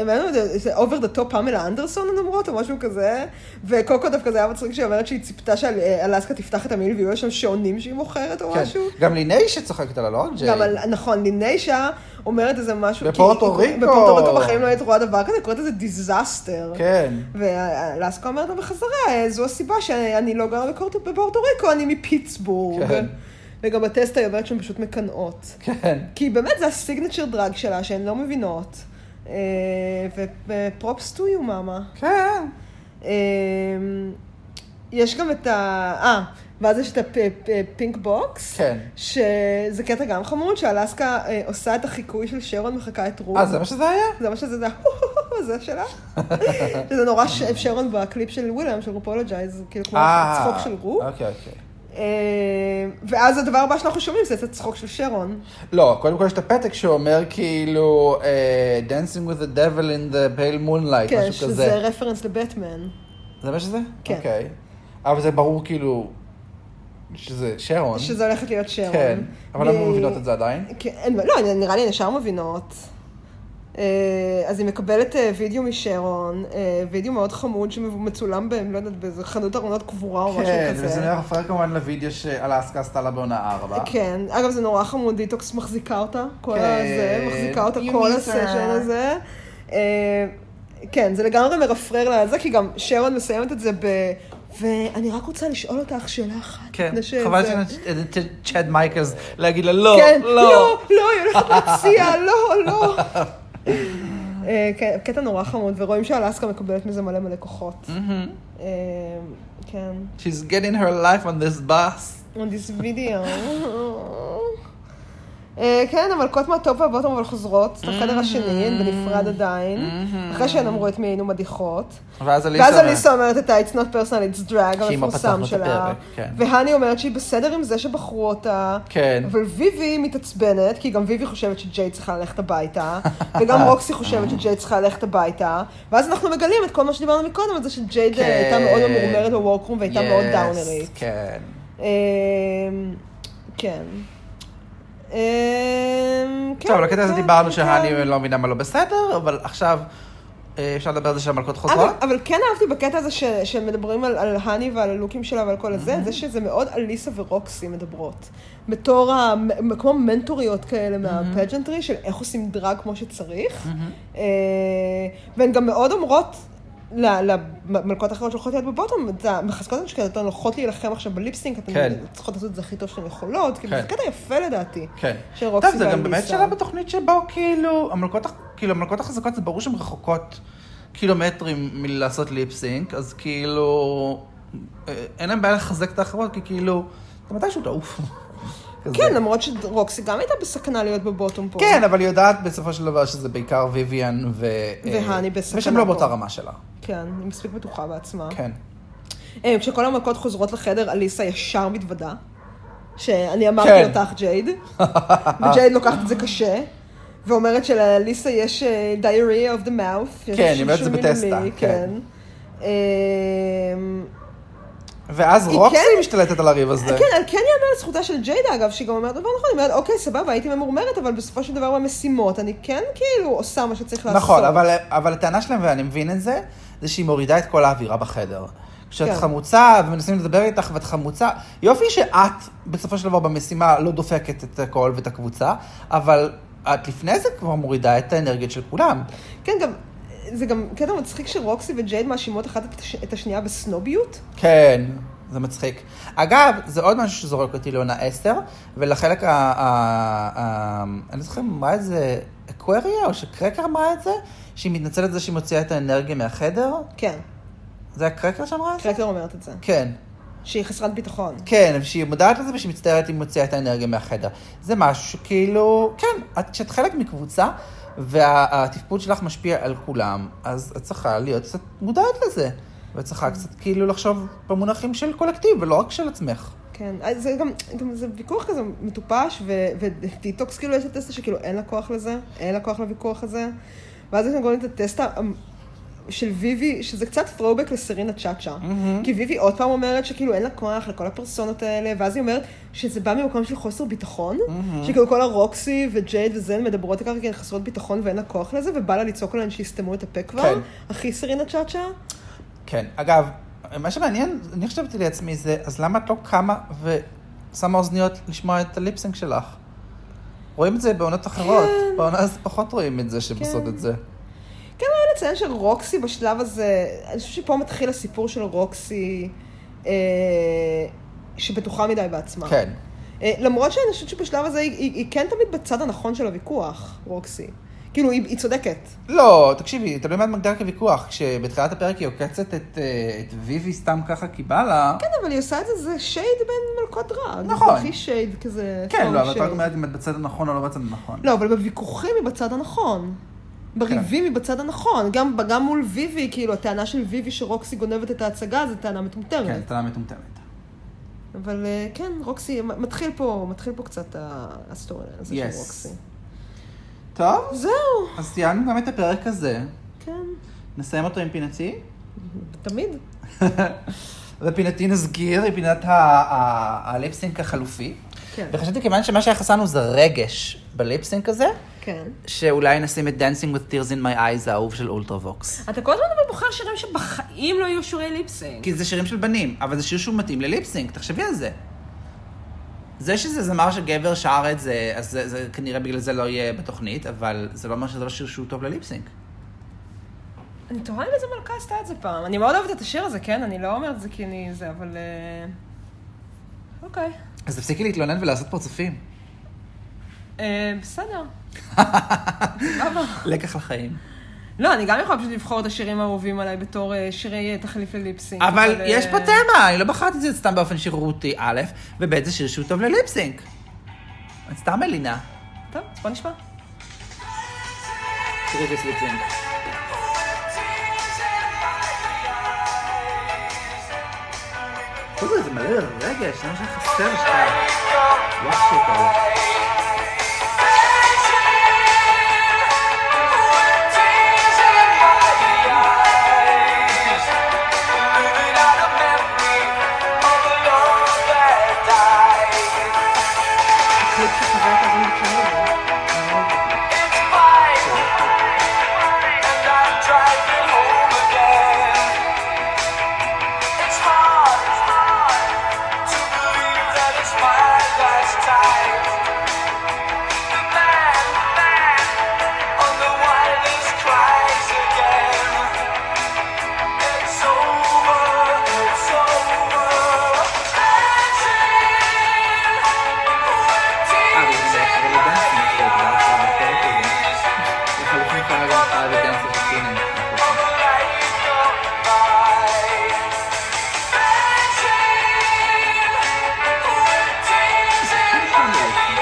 [SPEAKER 1] הם היו, זה- זה אובר דה טופ פמלה אנדרסון הן אומרות, או משהו כזה, וקוקו דווקא זה היה מצחיק שהיא אומרת שהיא ציפתה שאלסקה תפתח את המעיל ויהיו שם שעונים שהיא מוכרת או
[SPEAKER 2] כן.
[SPEAKER 1] משהו.
[SPEAKER 2] גם ליני שצוחקת עליה, לא על ג'ייד.
[SPEAKER 1] גם על, נכון, ליניישה אומרת איזה משהו, כי-
[SPEAKER 2] בפורטו ריקו.
[SPEAKER 1] בפורטו ריקו בחיים לא היית רואה דבר כזה, קוראת לזה דיזסטר.
[SPEAKER 2] כן.
[SPEAKER 1] ואלסקה אומרת לה בחזרה, "אה, זו הסיבה שאני לא גרה בקורט- בפורטו ריקו, אני מפיטסבורג.
[SPEAKER 2] כן.
[SPEAKER 1] וגם בטסט היא אומרת שהן פשוט מקנאות.
[SPEAKER 2] כן.
[SPEAKER 1] כי באמת זה הסיגנצ'ר דרג שלה, שהן לא מבינות. אה, ופרופס טו יו מאמה. אה,
[SPEAKER 2] כן.
[SPEAKER 1] יש גם את ה... אה, ואז יש את הפינק בוקס.
[SPEAKER 2] כן.
[SPEAKER 1] שזה קטע גם חמוד, שאלסקה אה, עושה את החיקוי של שרון, מחקה את רות.
[SPEAKER 2] אה, זה מה שזה היה?
[SPEAKER 1] זה מה שזה, זה הזה שלה. שזה נורא ש... שרון בקליפ של וויליאם, של רופולוג'ייז, כאילו כמו
[SPEAKER 2] אה.
[SPEAKER 1] הצחוק של רות.
[SPEAKER 2] אוקיי, אוקיי.
[SPEAKER 1] אה, ואז הדבר הבא שאנחנו שומעים זה את הצחוק של שרון.
[SPEAKER 2] לא, קודם כל יש את הפתק שאומר כאילו, אה, Dancing with the devil in the pale moonlight,
[SPEAKER 1] כן,
[SPEAKER 2] משהו
[SPEAKER 1] שזה
[SPEAKER 2] כזה.
[SPEAKER 1] רפרנס לבטמן.
[SPEAKER 2] זה מה שזה?
[SPEAKER 1] כן.
[SPEAKER 2] אוקיי. אבל זה ברור כאילו, שזה שרון.
[SPEAKER 1] שזה הולכת להיות שרון.
[SPEAKER 2] נכון. כן. אבל למה
[SPEAKER 1] והיא-
[SPEAKER 2] מבינות את זה עדיין?
[SPEAKER 1] כן, אין- לא, נראה לי הן ישר מבינות. אה, אז היא מקבלת אה, וידאו משרון, אה, וידאו מאוד חמוד שמצולם ב... לא יודעת, באיזה חנות ארונות קבורה או משהו
[SPEAKER 2] כן,
[SPEAKER 1] כזה.
[SPEAKER 2] וזה מפריע כמובן לוידאו שאלסקה עשתה לה בעונה ארבע.
[SPEAKER 1] כן, אגב זה נורא חמוד, דיטוקס מחזיקה אותה, כל
[SPEAKER 2] כן.
[SPEAKER 1] הזה, מחזיקה אותה
[SPEAKER 2] You
[SPEAKER 1] כל
[SPEAKER 2] miss her.
[SPEAKER 1] הסשן הזה. אה, כן, זה לגמרי מרפרר לה על זה, כי גם שרון מסיימת את זה ב... ואני רק רוצה לשאול אותך שאלה אחת.
[SPEAKER 2] כן,
[SPEAKER 1] לפני שזה-
[SPEAKER 2] חבל שאין צ'אד מייקלס להגיד לה לא,
[SPEAKER 1] כן,
[SPEAKER 2] לא.
[SPEAKER 1] לא, לא, היא הולכת להציע, לא, לא. אה, כן, קטע נורא חמוד, ורואים שאלסקה מקבלת מזה מלא מלא כוחות. אה, כן.
[SPEAKER 2] She's getting her life on this bus.
[SPEAKER 1] on this video. אה, כן, המלכות מהטופ והבוטום אבל חוזרות לחדר
[SPEAKER 2] Mm-hmm.
[SPEAKER 1] השני, הן בנפרד עדיין, אחרי שהן אמרו את מי היינו מדיחות.
[SPEAKER 2] ואז אליסה...
[SPEAKER 1] ואז אליסה אומרת את ה-It's not personal, it's drag
[SPEAKER 2] שהיא מה פתחנו
[SPEAKER 1] המפורסם
[SPEAKER 2] את
[SPEAKER 1] שלה.
[SPEAKER 2] הפרק, כן.
[SPEAKER 1] והני אומרת שהיא בסדר עם זה שבחרו אותה.
[SPEAKER 2] כן.
[SPEAKER 1] אבל ויבי מתעצבנת, כי גם ויבי חושבת שג'יי צריכה ללכת הביתה, וגם רוקסי חושבת שג'יי צריכה ללכת הביתה. ואז אנחנו מגלים את כל מה שדיברנו מקודם, על זה שג'יי
[SPEAKER 2] כן.
[SPEAKER 1] אה, הייתה מאוד ממורמרת בוורקרום והייתה מאוד
[SPEAKER 2] Yes,
[SPEAKER 1] דאונרית.
[SPEAKER 2] כן.
[SPEAKER 1] אמ, כן. אמ, כן,
[SPEAKER 2] טוב, לקטע הזה
[SPEAKER 1] כן,
[SPEAKER 2] דיברנו
[SPEAKER 1] כן.
[SPEAKER 2] שהני לא מבינה מה לא בסדר, אבל עכשיו אה, אפשר לדבר על זה שהמלכות חוזרות.
[SPEAKER 1] אבל, אבל כן אהבתי בקטע הזה ש, שמדברים על, על האני ועל הלוקים שלה ועל כל
[SPEAKER 2] Mm-hmm.
[SPEAKER 1] הזה, זה שזה מאוד אליסה ורוקסי מדברות. בתור, ה, מ- כמו מנטוריות כאלה
[SPEAKER 2] Mm-hmm.
[SPEAKER 1] מהפג'נטרי, של איך עושים דרג כמו שצריך. אה, והן גם מאוד אומרות ל- למלכות האחרות שהולכות להיות בבוטום, "אתה- מחזקות את המשקל, אתן הולכות להילחם עכשיו בליפסינק, אתן
[SPEAKER 2] כן.
[SPEAKER 1] צריכות לעשות את זה הכי טוב שאתן יכולות. כאילו,
[SPEAKER 2] כן.
[SPEAKER 1] זה קטע יפה לדעתי.
[SPEAKER 2] כן.
[SPEAKER 1] של
[SPEAKER 2] טוב,
[SPEAKER 1] רוקסי
[SPEAKER 2] זה גם
[SPEAKER 1] ואליסה.
[SPEAKER 2] באמת שאלה בתוכנית שבו כאילו המלכות, הח- כאילו המלכות החזקות זה ברור שהן רחוקות קילומטרים מלעשות ליפסינק, אז כאילו אה, אין להם בעיה לחזק את האחרות, כי כאילו, אתה מתישהו תעוף. כזה.
[SPEAKER 1] כן, למרות שרוקסי גם הייתה בסכנה להיות בבוטום פה.
[SPEAKER 2] כן, אבל היא יודעת בסופו של דבר שזה בעיקר ויויאן ו...
[SPEAKER 1] והני
[SPEAKER 2] אה,
[SPEAKER 1] בסכנה
[SPEAKER 2] ושהם לא
[SPEAKER 1] פה.
[SPEAKER 2] באותה רמה שלה.
[SPEAKER 1] כן, היא מספיק בטוחה בעצמה.
[SPEAKER 2] כן.
[SPEAKER 1] אה, כשכל המכות חוזרות לחדר, אליסה ישר מתוודה, שאני אמרתי
[SPEAKER 2] כן.
[SPEAKER 1] אותך, ג'ייד, וג'ייד לוקחת את זה קשה, ואומרת שלאליסה יש אה, diarrhea of the mouth. יש
[SPEAKER 2] כן, היא אומרת את זה
[SPEAKER 1] שום
[SPEAKER 2] בטסטה,
[SPEAKER 1] מינומי,
[SPEAKER 2] כן.
[SPEAKER 1] אמ,
[SPEAKER 2] ואז
[SPEAKER 1] היא
[SPEAKER 2] רוקסי
[SPEAKER 1] כן-
[SPEAKER 2] משתלטת על הריב הזה.
[SPEAKER 1] כן, על כן ייאמר לזכותה של ג'יידה, אגב, שהיא גם אומרת דבר נכון, היא אומרת, אוקיי, סבבה, הייתי ממורמרת, אבל בסופו של דבר במשימות, אני כן כאילו עושה מה שצריך לעשות.
[SPEAKER 2] נכון, אבל, אבל הטענה שלהם, ואני מבין את זה, זה שהיא מורידה את כל האווירה בחדר. כשאת
[SPEAKER 1] כן.
[SPEAKER 2] חמוצה, ומנסים לדבר איתך, ואת חמוצה, יופי שאת, בסופו של דבר במשימה, לא דופקת את הכל ואת הקבוצה, אבל את לפני זה כבר מורידה את האנרגיות של כולם.
[SPEAKER 1] כן, גם, זה גם קטע מצחיק שרוקסי וג'ייד מאשימות אחת את הש- את השנייה בסנוביות.
[SPEAKER 2] כן, זה מצחיק. אגב, זה עוד משהו שזורק אותי לעונה 10, ולחלק ה... ה, ה אני לא זוכרת אם אמרה את זה אקווריה, או שקרקר אמרה את זה, שהיא מתנצלת על זה שהיא מוציאה את האנרגיה מהחדר.
[SPEAKER 1] כן,
[SPEAKER 2] זה היה קרקר שאמרה את זה?
[SPEAKER 1] קרקר אומרת את זה.
[SPEAKER 2] כן.
[SPEAKER 1] שהיא חסרת ביטחון.
[SPEAKER 2] כן, ושהיא מודעת לזה ושהיא מצטערת אם מוציאה את האנרגיה מהחדר. זה משהו שכאילו, כן, את, כשאת חלק מקבוצה והתפקוד שלך משפיע על כולם, אז את צריכה להיות קצת מודעת לזה. ואת צריכה קצת כאילו לחשוב במונחים של קולקטיב ולא רק של עצמך.
[SPEAKER 1] כן, אז זה גם, גם זה ויכוח כזה מטופש, ו- ודיטוקס כאילו יש את הטסטה שכאילו אין לה כוח לזה, אין לה כוח לוויכוח הזה. ואז יש לנו גם את הטסטה המ- של ויבי, שזה קצת throwback לסרינה צ'אצ'ה. כי ויבי עוד פעם אומרת שכאילו אין לה כוח לכל הפרסונות האלה, ואז היא אומרת שזה בא ממקום של חוסר ביטחון, שכאילו כל הרוקסי וג'ייד וזן מדברות על כך כי הן חסרות ביטחון ואין לה כוח לזה, ובא לה לצעוק עליהן שיסתמו את הפה כבר.
[SPEAKER 2] כן.
[SPEAKER 1] אחי סרינה צ'אצ'ה.
[SPEAKER 2] כן, אגב, מה שמעניין, אני חשבתי לעצמי זה, אז למה את לא קמה ושמה אוזניות לשמוע את הליפסינג שלך? רואים את זה בעונות אחרות, בעונה אז פחות רואים את זה שהם עושות
[SPEAKER 1] כן.
[SPEAKER 2] את זה.
[SPEAKER 1] כן, היה לציין שרוקסי בשלב הזה, אני חושבת שפה מתחיל הסיפור של רוקסי, אה, שבטוחה מדי בעצמה.
[SPEAKER 2] כן.
[SPEAKER 1] אה, למרות שאני חושבת שבשלב הזה היא, היא, היא כן תמיד בצד הנכון של הוויכוח, רוקסי. כאילו, היא, היא צודקת.
[SPEAKER 2] לא, תקשיבי, תלוי מה את מגדירה כוויכוח. כשבתחילת הפרק היא עוקצת את, אה, את ויבי סתם ככה כי בא לה.
[SPEAKER 1] כן, אבל היא עושה את זה, זה שייד בין מלכות דרג.
[SPEAKER 2] נכון.
[SPEAKER 1] זה הכי שייד כזה.
[SPEAKER 2] כן, לא,
[SPEAKER 1] פאול
[SPEAKER 2] אבל את
[SPEAKER 1] שייד.
[SPEAKER 2] רק אומרת אם את בצד הנכון או לא בצד הנכון.
[SPEAKER 1] לא, אבל בוויכוחים היא בצד הנכון. בריבים היא בצד הנכון. גם, גם מול ויבי, כאילו, הטענה של ויבי שרוקסי גונבת את ההצגה, זו טענה מטומטמת.
[SPEAKER 2] כן, טענה מטומטמת.
[SPEAKER 1] אבל אה, כן, רוקסי, מתחיל פה, מתחיל פה קצת ה- הסטורי הזה
[SPEAKER 2] Yes.
[SPEAKER 1] של רוקסי.
[SPEAKER 2] טוב,
[SPEAKER 1] זהו,
[SPEAKER 2] אז סיימנו גם את הפרק הזה.
[SPEAKER 1] כן,
[SPEAKER 2] נסיים אותו עם פינתי.
[SPEAKER 1] תמיד.
[SPEAKER 2] ופינתי נסגיר, היא פינת ה- ה- הליפסינק החלופי.
[SPEAKER 1] כן,
[SPEAKER 2] וחשבתי כיוון שמה שהיה חסרנו זה רגש בליפסינק הזה,
[SPEAKER 1] כן.
[SPEAKER 2] שאולי נשים את Dancing with Tears in My Eyes האהוב של אולטרווקס.
[SPEAKER 1] אתה כל הזמן אבל בוחר שירים שבחיים לא יהיו שירי ליפסינג.
[SPEAKER 2] כי זה שירים של בנים, אבל זה שיר שהוא מתאים לליפסינק, תחשבי על זה. זה שזה זמר שגבר שר את זה, אז זה, זה כנראה בגלל זה לא יהיה בתוכנית, אבל זה לא אומר שזה לא שיר שהוא טוב לליפסינק.
[SPEAKER 1] כן. אני תוהה אם איזה מלכה עשתה את זה פעם. אני מאוד אוהבת את השיר הזה, כן? אני לא אומרת את זה כי אני זה, אבל... אה, אוקיי.
[SPEAKER 2] אז תפסיקי להתלונן ולעשות פרצופים.
[SPEAKER 1] אה, בסדר.
[SPEAKER 2] לקח לחיים.
[SPEAKER 1] לא, אני גם יכולה פשוט לבחור את השירים האהובים עליי בתור אה, שירי אה, תחליף לליפסינג.
[SPEAKER 2] אבל יש
[SPEAKER 1] אה,
[SPEAKER 2] פה תמה, אני לא בחרתי את זה סתם באופן שרירותי, א', וב', זה שיר שהוא טוב לליפסינק. את סתם מלינה.
[SPEAKER 1] טוב, אז בוא נשמע.
[SPEAKER 4] תראי את הסליפסינג. זה זה מלא רגש, זה מה שחסר שלך. וואו, טוב.
[SPEAKER 1] אה, אה,